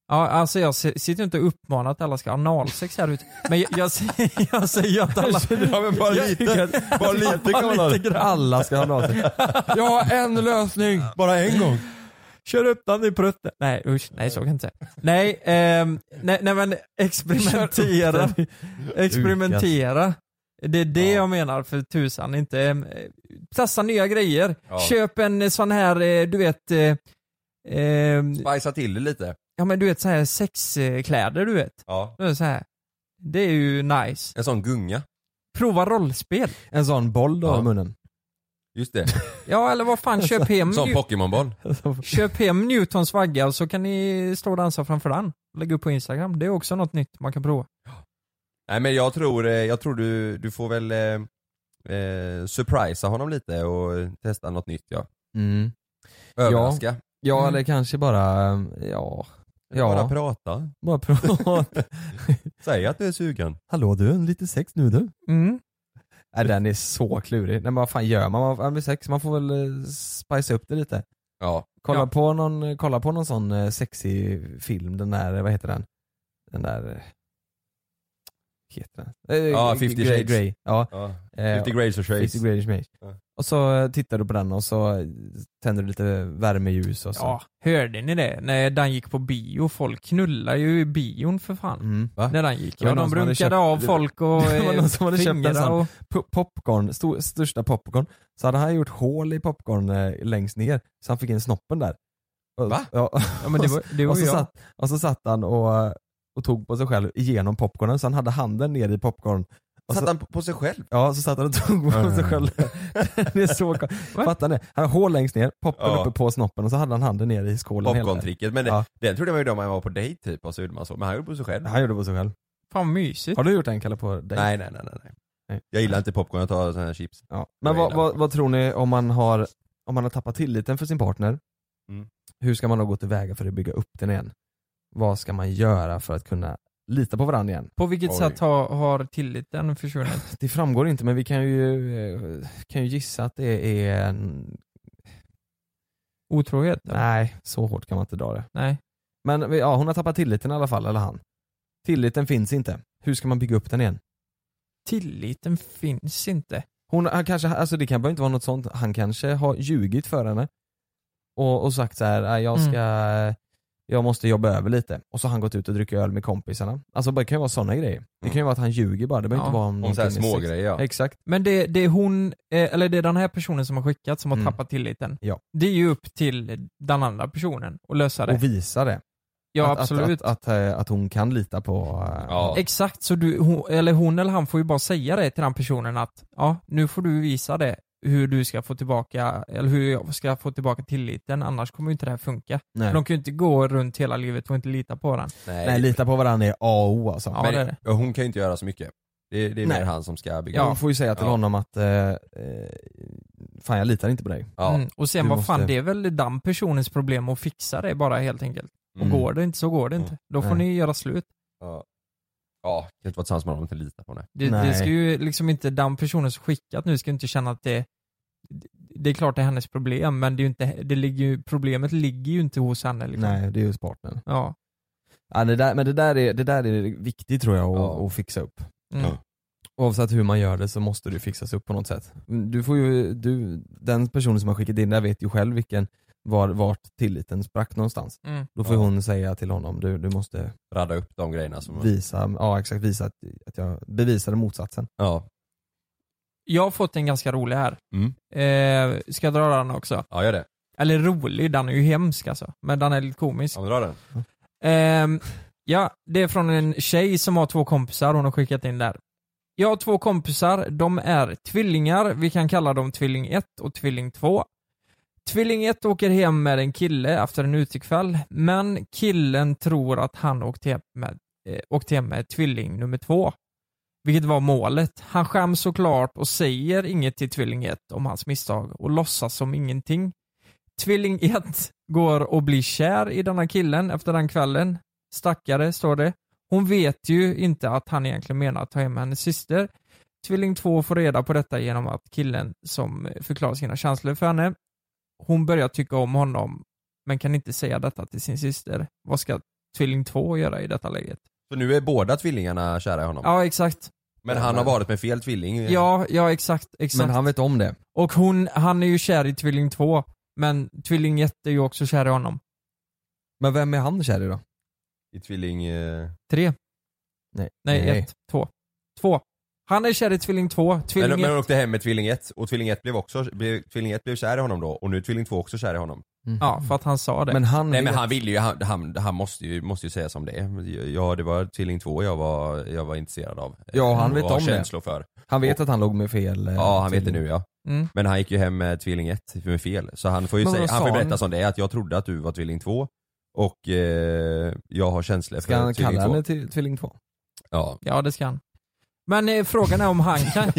Speaker 5: Ja, alltså jag si- sitter ju inte och uppmanar att alla ska ha analsex här ute. Men jag, jag, säger- [laughs] jag säger att alla...
Speaker 6: Ja men bara
Speaker 5: Jag- [laughs]
Speaker 6: lite, bara lite
Speaker 5: Bara
Speaker 6: kolla.
Speaker 5: lite grann.
Speaker 4: Alla ska ha nasen.
Speaker 5: Jag har en lösning.
Speaker 6: Bara en gång.
Speaker 5: Kör upp den i prutten. Nej usch, nej så kan jag inte säga. Nej, ehm, nej, nej men experimentera. Experimentera. Det är det
Speaker 6: Ja.
Speaker 5: jag menar för tusan. Inte, ehm, testa nya grejer.
Speaker 6: Ja.
Speaker 5: Köp en eh, sån här, eh, du vet, eh, ehm,
Speaker 6: Bajsa till det lite.
Speaker 5: ja men du vet så här sexkläder du vet.
Speaker 6: Ja.
Speaker 5: Det är, så här. det är ju nice.
Speaker 6: En sån gunga.
Speaker 5: Prova rollspel.
Speaker 4: En sån boll då
Speaker 6: Ja.
Speaker 5: [laughs]
Speaker 4: i munnen.
Speaker 6: Just det.
Speaker 5: Ja eller vad
Speaker 4: Alltså,
Speaker 5: fan, köp hem,
Speaker 6: Som
Speaker 5: Nju-
Speaker 6: Pokémonboll.
Speaker 5: köp hem Newtons vagga och så kan ni stå och dansa framför den. Lägg upp på Instagram. Det är också något nytt man kan prova.
Speaker 6: Nej men jag tror, eh, jag tror du, du får väl eh, eh, surprisa honom lite och testa något nytt ja.
Speaker 4: Mm.
Speaker 6: Överraska.
Speaker 4: Ja
Speaker 5: Mm.
Speaker 4: eller kanske bara, ehm, ja.
Speaker 6: Bara
Speaker 4: Ja,
Speaker 6: prata. [laughs]
Speaker 4: bara prata.
Speaker 6: Säg att du är sugen.
Speaker 4: Hallå du, lite sex nu du.
Speaker 5: Mm.
Speaker 4: Nej den är så klurig. Nej men vad fan gör man? Man- Man blir sex, man får väl eh, spicea upp det lite.
Speaker 6: Ja.
Speaker 4: Kolla,
Speaker 5: Ja.
Speaker 4: på, någon, kolla på någon sån eh, sexig film, den där, eh, vad heter den? Den där... eh, Heter den? Eh,
Speaker 6: Ja,
Speaker 4: G-
Speaker 6: 50
Speaker 4: Grey-
Speaker 6: Shades.
Speaker 4: Grey. Ja,
Speaker 6: ja.
Speaker 4: eh,
Speaker 6: 50 grades och
Speaker 4: 50
Speaker 6: shades.
Speaker 4: Grey Shades.
Speaker 6: Ja.
Speaker 4: Och så eh, tittar du på den och så eh, tänder du lite värmeljus och så.
Speaker 5: Ja, hörde ni det? När den gick på bio, folk knullar ju i bion för fan.
Speaker 4: Mm.
Speaker 5: När den gick.
Speaker 4: Det var
Speaker 5: Ja,
Speaker 4: någon
Speaker 5: de
Speaker 4: som hade
Speaker 5: brunkade
Speaker 4: köpt-
Speaker 5: av
Speaker 4: det-
Speaker 5: folk och
Speaker 4: [laughs] det var
Speaker 5: eh,
Speaker 4: någon som hade köpt en
Speaker 5: fingrar
Speaker 4: sån.
Speaker 5: och...
Speaker 4: Po- popcorn, sto- största popcorn. Så hade han gjort hål i popcorn eh, längst ner, så han fick in snoppen där. Och,
Speaker 6: Va?
Speaker 4: Ja, [laughs]
Speaker 5: Ja, men det var, det var
Speaker 4: och,
Speaker 5: ju
Speaker 4: så
Speaker 5: jag.
Speaker 4: satt, och så satt han och, och tog på sig själv igenom popcornen, så han hade handen ner i popcorn. Och så,
Speaker 6: Satt han på- på sig själv?
Speaker 4: Ja, så satt han och tog på
Speaker 6: Mm.
Speaker 4: sig själv. [laughs] det är så kon- Fattar ni? Han har hål längst ner, popcorn
Speaker 6: Ja.
Speaker 4: uppe på snoppen och så hade han handen ner i skålen hela tiden.
Speaker 6: Popcorn-tricket. Men det-
Speaker 4: Ja.
Speaker 6: den trodde man ju då man var på dejt typ och så gjorde man så. Men han gjorde på sig själv.
Speaker 4: Han gjorde på sig själv.
Speaker 5: Fan mysigt.
Speaker 4: Har du gjort en Kalle på dig?
Speaker 6: Nej, nej, nej, nej, nej.
Speaker 4: Nej.
Speaker 6: Jag gillar inte popcorn, jag tar sådana här chips.
Speaker 4: Ja. Men
Speaker 6: Jag
Speaker 4: vad,
Speaker 6: gillar
Speaker 4: vad,
Speaker 6: det.
Speaker 4: vad tror ni om man har, om man har tappat tilliten för sin partner?
Speaker 6: Mm.
Speaker 4: Hur ska man då gå tillväga för att bygga upp den igen? Vad ska man göra för att kunna lita på varandra igen?
Speaker 5: På vilket
Speaker 6: Oj.
Speaker 5: sätt har, har tilliten försvunnit?
Speaker 4: Det framgår inte men vi kan ju, eh, kan ju gissa att det är en...
Speaker 5: Otrohet?
Speaker 4: Nej, så hårt kan man inte dra det.
Speaker 5: Nej.
Speaker 4: Men ja, hon har tappat tilliten i alla fall, eller han. Tilliten finns inte. Hur ska man bygga upp den igen?
Speaker 5: Tilliten finns inte.
Speaker 4: Hon han kanske, alltså det kan bara inte vara något sånt. Han kanske har ljugit för henne. Och, och sagt så här, "Nej, jag
Speaker 5: Mm.
Speaker 4: ska, jag måste jobba över lite. Och så har han gått ut och druckit öl med kompisarna. Alltså det kan ju vara sådana grejer. Det kan ju vara att han ljuger bara, det behöver
Speaker 5: Mm. Ja,
Speaker 4: inte vara om
Speaker 6: Om
Speaker 4: någonting
Speaker 6: sådana här
Speaker 4: med Mm, sex.
Speaker 6: smågrejer ja.
Speaker 4: Exakt.
Speaker 5: Men det, det är hon, eh, eller det är den här personen som har skickat som har
Speaker 4: Mm.
Speaker 5: tappat tilliten.
Speaker 4: Ja.
Speaker 5: Det är ju upp till den andra personen att lösa det.
Speaker 4: Och visa det.
Speaker 5: ja
Speaker 4: att,
Speaker 5: absolut.
Speaker 4: Att, att, att, eh, att hon kan lita på... eh,
Speaker 6: Ja.
Speaker 5: Exakt, så du, hon, eller hon eller han får ju bara säga det till den personen att ja, nu får du visa det hur du ska få tillbaka, eller hur jag ska få tillbaka tilliten, annars kommer ju inte det här funka.
Speaker 4: Nej.
Speaker 5: De kan ju inte gå runt hela livet och inte lita på den.
Speaker 4: Nej, lita på varandra är A och O alltså.
Speaker 5: Ja,
Speaker 6: men
Speaker 5: det är det.
Speaker 6: ja, Hon kan ju inte göra så mycket. Det, det är
Speaker 4: Nej.
Speaker 6: mer han som ska bygga
Speaker 4: Ja.
Speaker 6: upp.
Speaker 4: Hon får ju säga till
Speaker 6: Ja.
Speaker 4: honom att eh, eh, fan jag litar inte på dig.
Speaker 6: Ja.
Speaker 5: Mm. Och sen
Speaker 4: Du
Speaker 5: vad fan,
Speaker 4: måste-
Speaker 5: det är väl den personens problem att fixa det bara helt enkelt. Och
Speaker 6: Mm.
Speaker 5: går det inte så går det inte. Då får
Speaker 4: Nej.
Speaker 5: ni göra slut.
Speaker 6: Ja. ja, kan inte vara tillsammans med honom och inte lita på henne.
Speaker 5: Det, det
Speaker 4: Nej.
Speaker 5: ska ju liksom inte, den personen som skickat nu ska ju inte känna att det det är klart det är hennes problem, men det är ju inte, det ligger ju, problemet ligger ju inte hos henne. Liksom.
Speaker 4: Nej, det är ju partnern.
Speaker 5: Ja.
Speaker 4: Ja, det där, men det där, är, det där är viktigt tror jag att,
Speaker 6: Ja.
Speaker 4: att fixa upp.
Speaker 5: Mm.
Speaker 6: Ja.
Speaker 4: Oavsett hur man gör det så måste det fixas upp på något sätt. Du får ju, du, den personen som har skickat in det här vet ju själv vilken, var, vart tilliten sprack någonstans.
Speaker 5: Mm.
Speaker 4: Då får
Speaker 6: Ja. Mm.
Speaker 4: hon säga till honom, du, du måste
Speaker 6: Radda upp de grejerna
Speaker 4: Mm.
Speaker 6: som...
Speaker 4: visa, ja exakt, visa att, att jag bevisade motsatsen.
Speaker 6: Ja.
Speaker 5: Jag har fått en ganska rolig här.
Speaker 6: Mm.
Speaker 5: Eh, ska jag dra den också?
Speaker 6: ja, gör det.
Speaker 5: Eller rolig, den är ju hemsk alltså. Men den är lite komisk.
Speaker 6: Ja, men dra den.
Speaker 5: Ehm, ja, det är från en tjej som har två kompisar hon har skickat in där. Jag har två kompisar, de är tvillingar, vi kan kalla dem tvilling 1 och tvilling 2. Tvilling 1 åker hem med en kille efter en utekväll, men killen tror att han åkte hem med, eh, åkte hem med tvilling nummer 2. Vilket var målet. Han skäms såklart och säger inget till tvilling 1 om hans misstag och låtsas som ingenting. Tvilling 1 går och blir kär i denna killen efter den kvällen. Stackare, står det. Hon vet ju inte att han egentligen menar att ta hem hennes syster. Tvilling 2 får reda på detta genom att killen som förklarar sina känslor för henne, hon börjar tycka om honom men kan inte säga detta till sin syster. Vad ska Tvilling 2 göra i detta läget?
Speaker 6: Så nu är båda tvillingarna kära i honom.
Speaker 5: Ja, exakt.
Speaker 6: Men han har varit med fel tvilling. eh,
Speaker 5: Ja, ja exakt. exakt.
Speaker 4: Men han vet om det.
Speaker 5: Och hon, han är ju kär i Tvilling 2, men Tvilling 1 är ju också kär i honom.
Speaker 4: Men vem är han kär i då?
Speaker 6: I tvilling... eh,
Speaker 5: 3.
Speaker 4: Nej,
Speaker 5: Nej, 1. 2. 2. Han är kär i Tvilling 2.
Speaker 6: Men,
Speaker 5: Tvilling
Speaker 6: men
Speaker 5: 1
Speaker 6: hon åkte hem med tvilling 1 och tvilling 1 blev också, blev, tvilling 1 blev kär i honom då och nu är tvilling 2 också kär i honom.
Speaker 4: Mhm.
Speaker 5: Ja, för att han sa det.
Speaker 4: Men han
Speaker 6: Nej
Speaker 4: vet.
Speaker 6: men han ville ju, han, han, han måste ju, måste ju säga som det är. Ja det var tvilling 2 jag var, jag var intresserad av.
Speaker 4: Ja, han
Speaker 6: Och
Speaker 4: vet
Speaker 6: har
Speaker 4: om det.
Speaker 6: Mm, känslor för.
Speaker 4: han vet att han låg med fel eh,
Speaker 6: Ja han vet det
Speaker 4: tvilling.
Speaker 6: nu ja.
Speaker 5: Mm.
Speaker 6: Men han gick ju hem med tvilling 1 med fel. Så han får ju
Speaker 5: Men
Speaker 6: säga,
Speaker 5: vad
Speaker 6: han
Speaker 5: sa
Speaker 6: får ju
Speaker 5: han?
Speaker 6: berätta som det är att jag trodde att du var tvilling 2 och eh, jag har känslor
Speaker 4: Ska
Speaker 6: för
Speaker 4: han
Speaker 6: tvilling
Speaker 4: kalla
Speaker 6: 2.
Speaker 4: henne till
Speaker 5: [laughs]
Speaker 4: tvilling 2?
Speaker 6: Ja.
Speaker 5: Ja, det ska han. Men eh, frågan är om
Speaker 4: [laughs]
Speaker 5: han kan...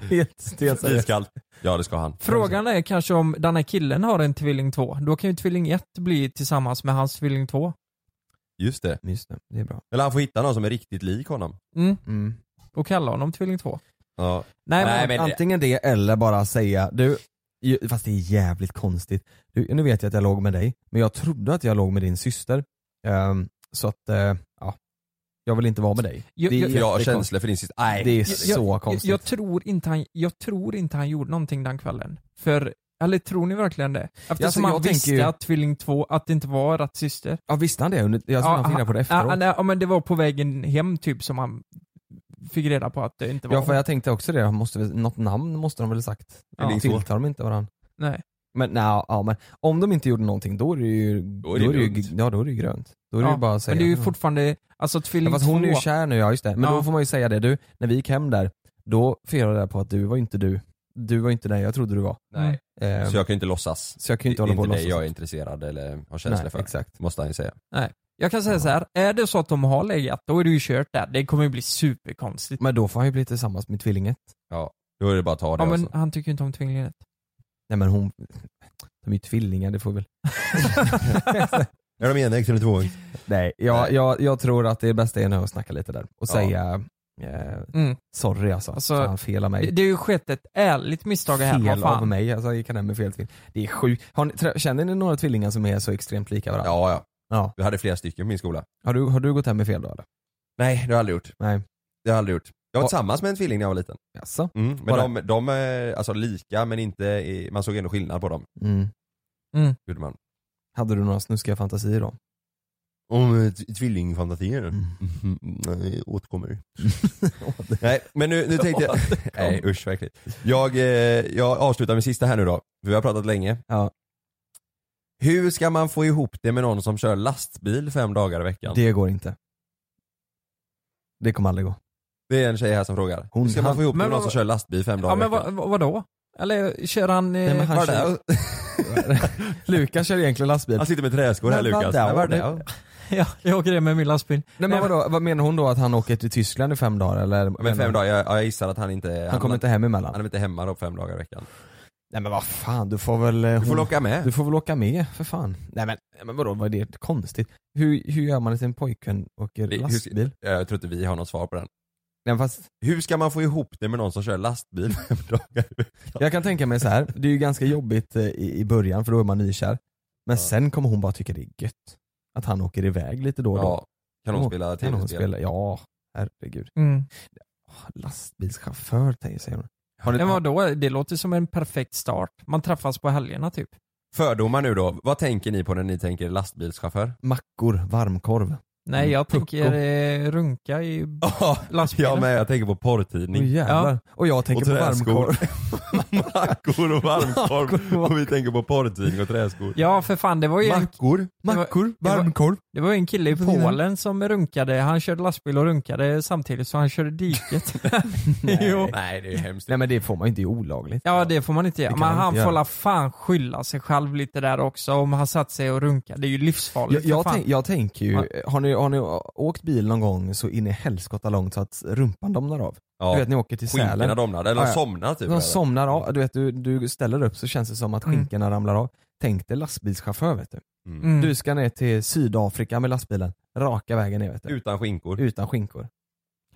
Speaker 4: Helt stel
Speaker 6: Iskallt. Ja det ska han.
Speaker 5: frågan är kanske om den här killen har en Tvilling 2. Då kan ju Tvilling 1 bli tillsammans med hans Tvilling 2.
Speaker 6: Just det.
Speaker 4: Just det, det är bra.
Speaker 6: Eller han får hitta någon som är riktigt lik honom.
Speaker 5: Mm.
Speaker 4: Mm.
Speaker 5: Och kalla honom Tvilling 2.
Speaker 6: Ja.
Speaker 5: Nej,
Speaker 6: Nej,
Speaker 5: men...
Speaker 6: men-
Speaker 4: Antingen det eller bara säga, du, ju- fast det är jävligt konstigt. Du, nu vet jag att jag låg med dig, men jag trodde att jag låg med din syster. Ehm, så att, eh, ja. Jag vill inte vara med dig.
Speaker 5: Jag-
Speaker 4: det är
Speaker 5: jag-
Speaker 6: För jag har
Speaker 4: jättekonstigt.
Speaker 6: känslor för din syster. Nej.
Speaker 4: Det är
Speaker 5: jag-
Speaker 4: så konstigt.
Speaker 5: Jag tror, inte han, jag tror inte han gjorde någonting den kvällen. För, eller tror ni verkligen det? Eftersom
Speaker 4: Alltså, jag
Speaker 5: han
Speaker 4: tänker
Speaker 5: visste
Speaker 4: ju-
Speaker 5: att Tvilling 2, att det inte var rätt syster.
Speaker 4: ja visste han det? Under- Jag tror han fick reda på det
Speaker 5: han-
Speaker 4: efteråt.
Speaker 5: han- Ja, men det var på vägen hem typ som han fick reda på att det inte var
Speaker 4: Ja för jag tänkte också det, Han måste, väl- något namn måste de väl ha sagt?
Speaker 5: Ja.
Speaker 4: Ja. Tilltar de inte varandra?
Speaker 5: Nej.
Speaker 4: Men, nej, ja, men om de inte gjorde någonting då är det ju, då är det ju,
Speaker 6: lugnt.
Speaker 4: ja, då är det ju grönt. Då är det
Speaker 5: Ja,
Speaker 4: ju bara att säga
Speaker 5: Men det är ju
Speaker 4: ja.
Speaker 5: fortfarande, alltså
Speaker 4: Ja,
Speaker 5: tvilling
Speaker 4: fast hon är ju
Speaker 5: 2.
Speaker 4: kär nu, ja just det. Men
Speaker 5: Ja.
Speaker 4: då får man ju säga det, du, när vi gick hem där, då fick jag reda på att du var inte du. Du var inte den jag trodde du var.
Speaker 5: Nej.
Speaker 4: Eh,
Speaker 6: Så jag kan ju inte låtsas.
Speaker 4: så jag kan ju inte
Speaker 6: det är
Speaker 4: hålla på och
Speaker 6: inte det
Speaker 4: låtsas.
Speaker 6: jag är intresserad eller har känslor
Speaker 4: Nej,
Speaker 6: för.
Speaker 4: exakt.
Speaker 6: Måste han ju säga.
Speaker 5: Jag kan säga så här. är det så att de har legat, då är det ju kört där. Det kommer ju bli superkonstigt.
Speaker 4: Men då får han ju bli tillsammans med tvillinget.
Speaker 6: Då är det bara att ta det
Speaker 5: Ja men
Speaker 6: alltså.
Speaker 5: han tycker ju inte om tvillinget.
Speaker 4: Nej men hon, de är ju tvillingar, det
Speaker 6: [laughs]
Speaker 4: får väl...
Speaker 6: Är de enäggs eller tvåäggs?
Speaker 4: Nej, jag, jag, jag tror att det bästa är nu att snacka lite där och
Speaker 6: Ja.
Speaker 4: säga eh,
Speaker 5: Mm.
Speaker 4: sorry alltså,
Speaker 5: Alltså,
Speaker 4: fan fel av mig.
Speaker 5: Det, det är ju skett ett ärligt misstag här, vad
Speaker 4: fel av
Speaker 5: fan.
Speaker 4: mig, alltså jag gick hem med fel tvilling. Det är sjukt. Har ni- trä- Känner ni några tvillingar som är så extremt lika varandra?
Speaker 6: Ja ja.
Speaker 4: Ja.
Speaker 6: Vi hade flera stycken på min skola.
Speaker 4: Har, du, har du gått hem med fel då eller?
Speaker 6: Nej det har jag aldrig gjort.
Speaker 4: Nej.
Speaker 6: Det har jag aldrig gjort. Jag var
Speaker 4: Ja.
Speaker 6: tillsammans med en tvilling när jag var liten.
Speaker 4: Jaså?
Speaker 6: Mm, men
Speaker 4: Bara-
Speaker 6: de, de är alltså lika men inte, i- man såg ändå skillnad på dem.
Speaker 4: Mm.
Speaker 6: Gjorde man.
Speaker 4: Hade du några snuskiga fantasier då?
Speaker 6: Om eh, tvillingfantasier.
Speaker 4: Mm.
Speaker 6: [laughs] Nej, återkommer. Nej, men nu, nu tänkte jag... [laughs] Nej usch verkligen. Jag, eh, jag avslutar med sista här nu då, för vi har pratat länge.
Speaker 4: Ja.
Speaker 6: Hur ska man få ihop det med någon som kör lastbil fem dagar i veckan? Det,
Speaker 4: Det går inte. Det kommer aldrig gå.
Speaker 6: är en tjej här som frågar.
Speaker 4: Hon-
Speaker 6: Hur ska man få ihop det
Speaker 5: Men
Speaker 6: med någon
Speaker 5: vad-
Speaker 6: som kör lastbil fem dagar
Speaker 5: Ja men
Speaker 6: i veckan?
Speaker 5: vad, vad, vadå? Eller kör han... Eh,
Speaker 4: Nej, men han
Speaker 6: Var
Speaker 4: kör-
Speaker 6: det?
Speaker 4: [laughs] Lukas kör egentligen lastbil.
Speaker 6: Han sitter med träskor Alltså, här
Speaker 4: Men vad
Speaker 6: Lukas.
Speaker 4: där?
Speaker 6: Var det?
Speaker 4: Nej.
Speaker 5: [laughs] ja, jag åker det med min lastbil.
Speaker 4: Nej, men vadå, vad menar hon då? Att han åker till Tyskland i fem dagar eller?
Speaker 6: Men fem dagar, jag, ja, jag gissar att han inte...
Speaker 4: Han kommer inte hem emellan?
Speaker 6: Han är inte hemma då fem dagar i veckan.
Speaker 4: Nej men vad fan, du får väl... eh,
Speaker 6: Du får
Speaker 4: hon-
Speaker 6: locka med.
Speaker 4: du får väl åka med för fan. Nej men, nej, men vadå, vad är det konstigt? Hur, hur gör man att en pojkvän åker
Speaker 6: Det- hur-
Speaker 4: lastbil?
Speaker 6: Jag tror inte vi har något svar på den.
Speaker 4: Nej, fast
Speaker 6: Hur ska man få ihop det med någon som kör lastbil fem dagar?
Speaker 4: jag kan tänka mig så här. det är ju ganska jobbigt eh, i, i början för då är man nykär.
Speaker 6: Ja.
Speaker 4: Men sen kommer hon bara tycka det är gött. Att han åker iväg lite då och då.
Speaker 6: Ja. Kan hon
Speaker 4: Kan
Speaker 6: spela
Speaker 4: Kan hon
Speaker 6: tv-spel?
Speaker 4: spela? Ja, herregud.
Speaker 5: Mm.
Speaker 4: Åh, Lastbilschaufför tänker- säger hon.
Speaker 5: Nej, men vadå? Det låter som en perfekt start. Man träffas på helgerna typ.
Speaker 6: Fördomar nu då. Vad tänker ni på när ni tänker lastbilschaufför?
Speaker 4: Mackor, varmkorv.
Speaker 5: Nej, jag
Speaker 4: Mm. Pucko.
Speaker 5: tänker eh, runka i
Speaker 6: Ja,
Speaker 5: lastbilen.
Speaker 6: jag med. Jag tänker på porrtidning.
Speaker 4: Åh, jävlar. Och jag tänker
Speaker 6: Och
Speaker 4: på
Speaker 6: [laughs] träskor.
Speaker 4: varmkorv.
Speaker 6: mackor och varmkorv. Och vi tänker på porrtidning och träskor.
Speaker 4: Typ.
Speaker 5: Ja, för fan, det var ju en,
Speaker 6: Mackor,
Speaker 5: var-
Speaker 4: Mackor,
Speaker 5: det var-
Speaker 4: varmkorv.
Speaker 5: det var ju en kille i
Speaker 4: Vad menar du?
Speaker 5: Polen som runkade. Han körde lastbil och runkade samtidigt, så han körde
Speaker 4: [laughs]
Speaker 5: diket. [laughs] jo.
Speaker 6: Nej det är hemskt.
Speaker 4: Nej men det får man ju inte, det är olagligt.
Speaker 5: Ja, det får man inte göra.
Speaker 4: Det kan
Speaker 5: Men
Speaker 4: man
Speaker 5: han
Speaker 4: inte
Speaker 5: får
Speaker 4: göra.
Speaker 5: la fan skylla sig själv lite där också om han satt sig och runkade. Det är ju livsfarligt.
Speaker 4: Jag, jag,
Speaker 5: för fan.
Speaker 4: tänk, jag tänker ju, har ni, har ni åkt bil någon gång så in i helskotta långt så att rumpan domnar av?
Speaker 6: Ja.
Speaker 4: Du vet ni åker till
Speaker 6: Skinkorna
Speaker 4: Sälen,
Speaker 6: domnade, eller
Speaker 4: Ja, ja.
Speaker 6: somnade typ.
Speaker 4: de somnar av, du vet du, du ställer upp så känns det som att
Speaker 5: Mm.
Speaker 4: skinkorna ramlar av. Tänk dig lastbilschaufför vet du.
Speaker 6: Mm.
Speaker 5: mm.
Speaker 4: Du ska ner till Sydafrika med lastbilen, raka vägen ner vet du.
Speaker 6: Utan skinkor.
Speaker 4: Utan skinkor.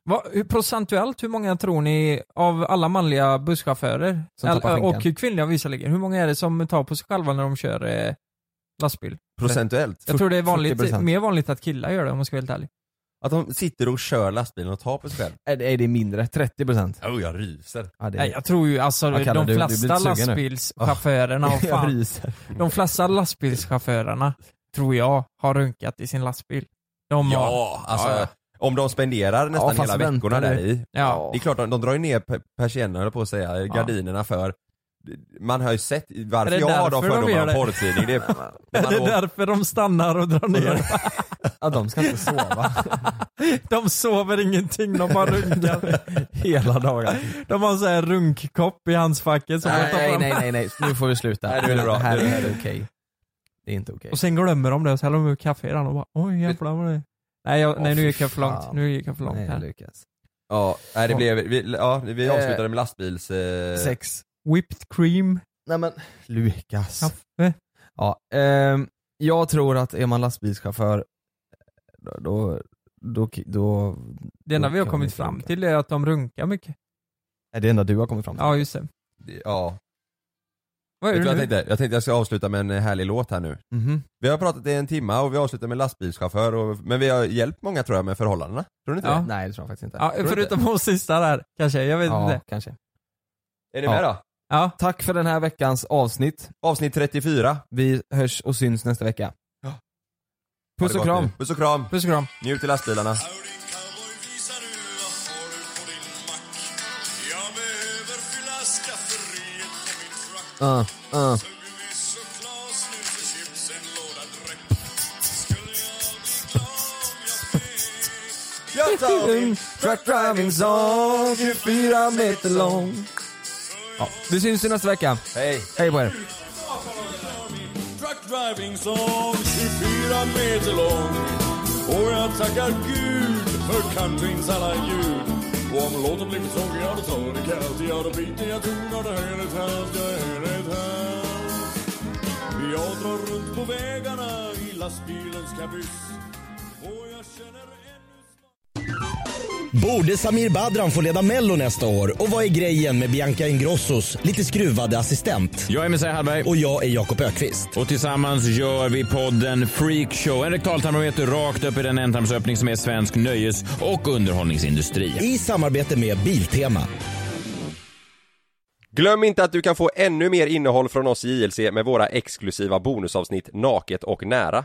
Speaker 5: Vad- hur procentuellt, hur många tror ni av alla manliga busschaufförer,
Speaker 4: Som tappar
Speaker 5: eller-
Speaker 4: skinkan.
Speaker 5: och kvinnliga visserligen, hur många är det som tar på sig själva när de kör eh, lastbil?
Speaker 6: Procentuellt.
Speaker 5: Jag tror det är vanligt,
Speaker 4: 40%.
Speaker 5: mer vanligt att killar gör det om man ska vara helt ärlig.
Speaker 6: Att de sitter och kör lastbilen och tar på sig själv.
Speaker 4: Nej det är det mindre, 30%.
Speaker 6: Oh, jag ryser.
Speaker 4: Ja, det är,
Speaker 5: Nej, jag tror ju alltså
Speaker 4: Vad kallar
Speaker 5: de
Speaker 4: du- du
Speaker 5: flesta
Speaker 4: blir sugen nu? [laughs]
Speaker 5: lastbilschaufförerna, och
Speaker 4: jag
Speaker 5: fan,
Speaker 4: ryser.
Speaker 5: de flesta lastbilschaufförerna tror jag har runkat i sin lastbil. De har,
Speaker 6: Ja, alltså.
Speaker 5: Ja, ja.
Speaker 6: Om de spenderar nästan
Speaker 4: fast
Speaker 6: hela
Speaker 4: vänta
Speaker 6: veckorna
Speaker 4: nu.
Speaker 6: där i.
Speaker 5: Ja.
Speaker 6: Det är klart, de, de drar ju ner pe- persiennerna höll jag på att säga, gardinerna för. Man har ju sett
Speaker 5: Är
Speaker 6: varför
Speaker 5: det
Speaker 6: jag har de
Speaker 5: därför de gör
Speaker 6: fördomarna om
Speaker 5: det?
Speaker 6: porrtidning. Det är,
Speaker 5: [laughs]
Speaker 6: när man
Speaker 5: det är
Speaker 6: åker-
Speaker 5: därför de stannar och drar
Speaker 6: [laughs]
Speaker 5: ner.
Speaker 4: [laughs] Ja, de ska inte sova.
Speaker 5: De sover ingenting, de bara runkar.
Speaker 6: [laughs]
Speaker 5: [laughs]
Speaker 4: Hela dagen.
Speaker 5: De har en sån här runkkopp i handskfacket som de tar
Speaker 4: Nej,
Speaker 5: fram.
Speaker 4: nej, nej, nej, nu får vi sluta.
Speaker 6: Nej, nu är det bra.
Speaker 4: här
Speaker 6: Nu är det-
Speaker 4: är inte okej. Det är inte okej.
Speaker 5: Och sen glömmer de det och så häller de ut kaffe i den och bara oj jävlar vad det är." nej, jag,
Speaker 4: Åh,
Speaker 5: nej nu
Speaker 4: fy
Speaker 5: gick jag för långt,
Speaker 4: fan.
Speaker 5: nu gick jag för långt
Speaker 4: Nej,
Speaker 5: här.
Speaker 4: Lukas.
Speaker 6: Ja, nej, det blev, vi, ja, vi
Speaker 4: Eh,
Speaker 6: avslutade med lastbils... Eh,
Speaker 4: Sex.
Speaker 5: Whipped cream,
Speaker 4: Nej men, Lukas.
Speaker 5: kaffe.
Speaker 4: Ja, ehm, jag tror att är man lastbilschaufför, då, då, då, då
Speaker 5: Det enda
Speaker 4: Då
Speaker 5: vi har
Speaker 4: kan
Speaker 5: kommit
Speaker 4: vi
Speaker 5: fram
Speaker 4: runka.
Speaker 5: till är att de runkar mycket.
Speaker 4: är det enda du har kommit fram till.
Speaker 5: Ja just det.
Speaker 6: Ja.
Speaker 5: Vad
Speaker 6: Vet
Speaker 5: är
Speaker 6: du vad jag
Speaker 5: det nu?
Speaker 6: tänkte? Jag tänkte jag ska avsluta med en härlig låt här nu.
Speaker 4: Mhm.
Speaker 6: Vi har pratat i en timme och vi avslutar med lastbilschaufför, och, men vi har hjälpt många tror jag med förhållandena. Tror du inte
Speaker 5: Ja.
Speaker 6: det?
Speaker 4: Nej det tror jag faktiskt inte.
Speaker 5: Ja,
Speaker 4: Tror du
Speaker 5: förutom hon sista där kanske, jag vet
Speaker 4: inte? Ja,
Speaker 5: inte.
Speaker 4: kanske.
Speaker 6: Är ni med då?
Speaker 5: Ja.
Speaker 4: Tack för den här veckans avsnitt.
Speaker 6: Avsnitt 34.
Speaker 4: Vi hörs och syns nästa vecka.
Speaker 6: Ha det
Speaker 4: Puss och
Speaker 6: gott
Speaker 4: kram.
Speaker 6: nu. Puss och kram.
Speaker 5: Puss och kram.
Speaker 6: Njut i lastbilarna.
Speaker 8: Howdy cowboy, visa nu vad har du på din mack? Jag behöver fylla skafferiet på min frack.
Speaker 4: Uh, uh.
Speaker 8: Tuggummis och glas, nu för chips, en låda dräkt. Skulle jag bli glad om jag fick?
Speaker 6: Jag tar min
Speaker 4: Truck driving song, 24 meter lång. Ja, vi syns ju nästa vecka.
Speaker 6: Hej.
Speaker 4: Hej på er.
Speaker 8: Truck driving song, 24 meter lång. Och jag tackar Gud för countryns alla ljud. Och om låten blir för tråkig, ja då tar det kallt. Ja då byter jag ton, ja då är det halt, ja är det halt. Jag drar runt på vägarna i lastbilens kabyss. Och jag känner ännu snart-
Speaker 1: Borde Samir Badran få leda Mello nästa år? Och vad är grejen med Bianca Ingrossos lite skruvade assistent?
Speaker 2: Jag är Messiah Hallberg.
Speaker 1: Och jag är Jakob Ökvist.
Speaker 2: Och tillsammans gör vi podden Freak Show. En rektaltarmometer rakt upp i den ändtarmsöppning som är svensk nöjes och underhållningsindustri.
Speaker 1: I samarbete med Biltema.
Speaker 6: Glöm inte att du kan få ännu mer innehåll från oss i JLC med våra exklusiva bonusavsnitt Naket och nära.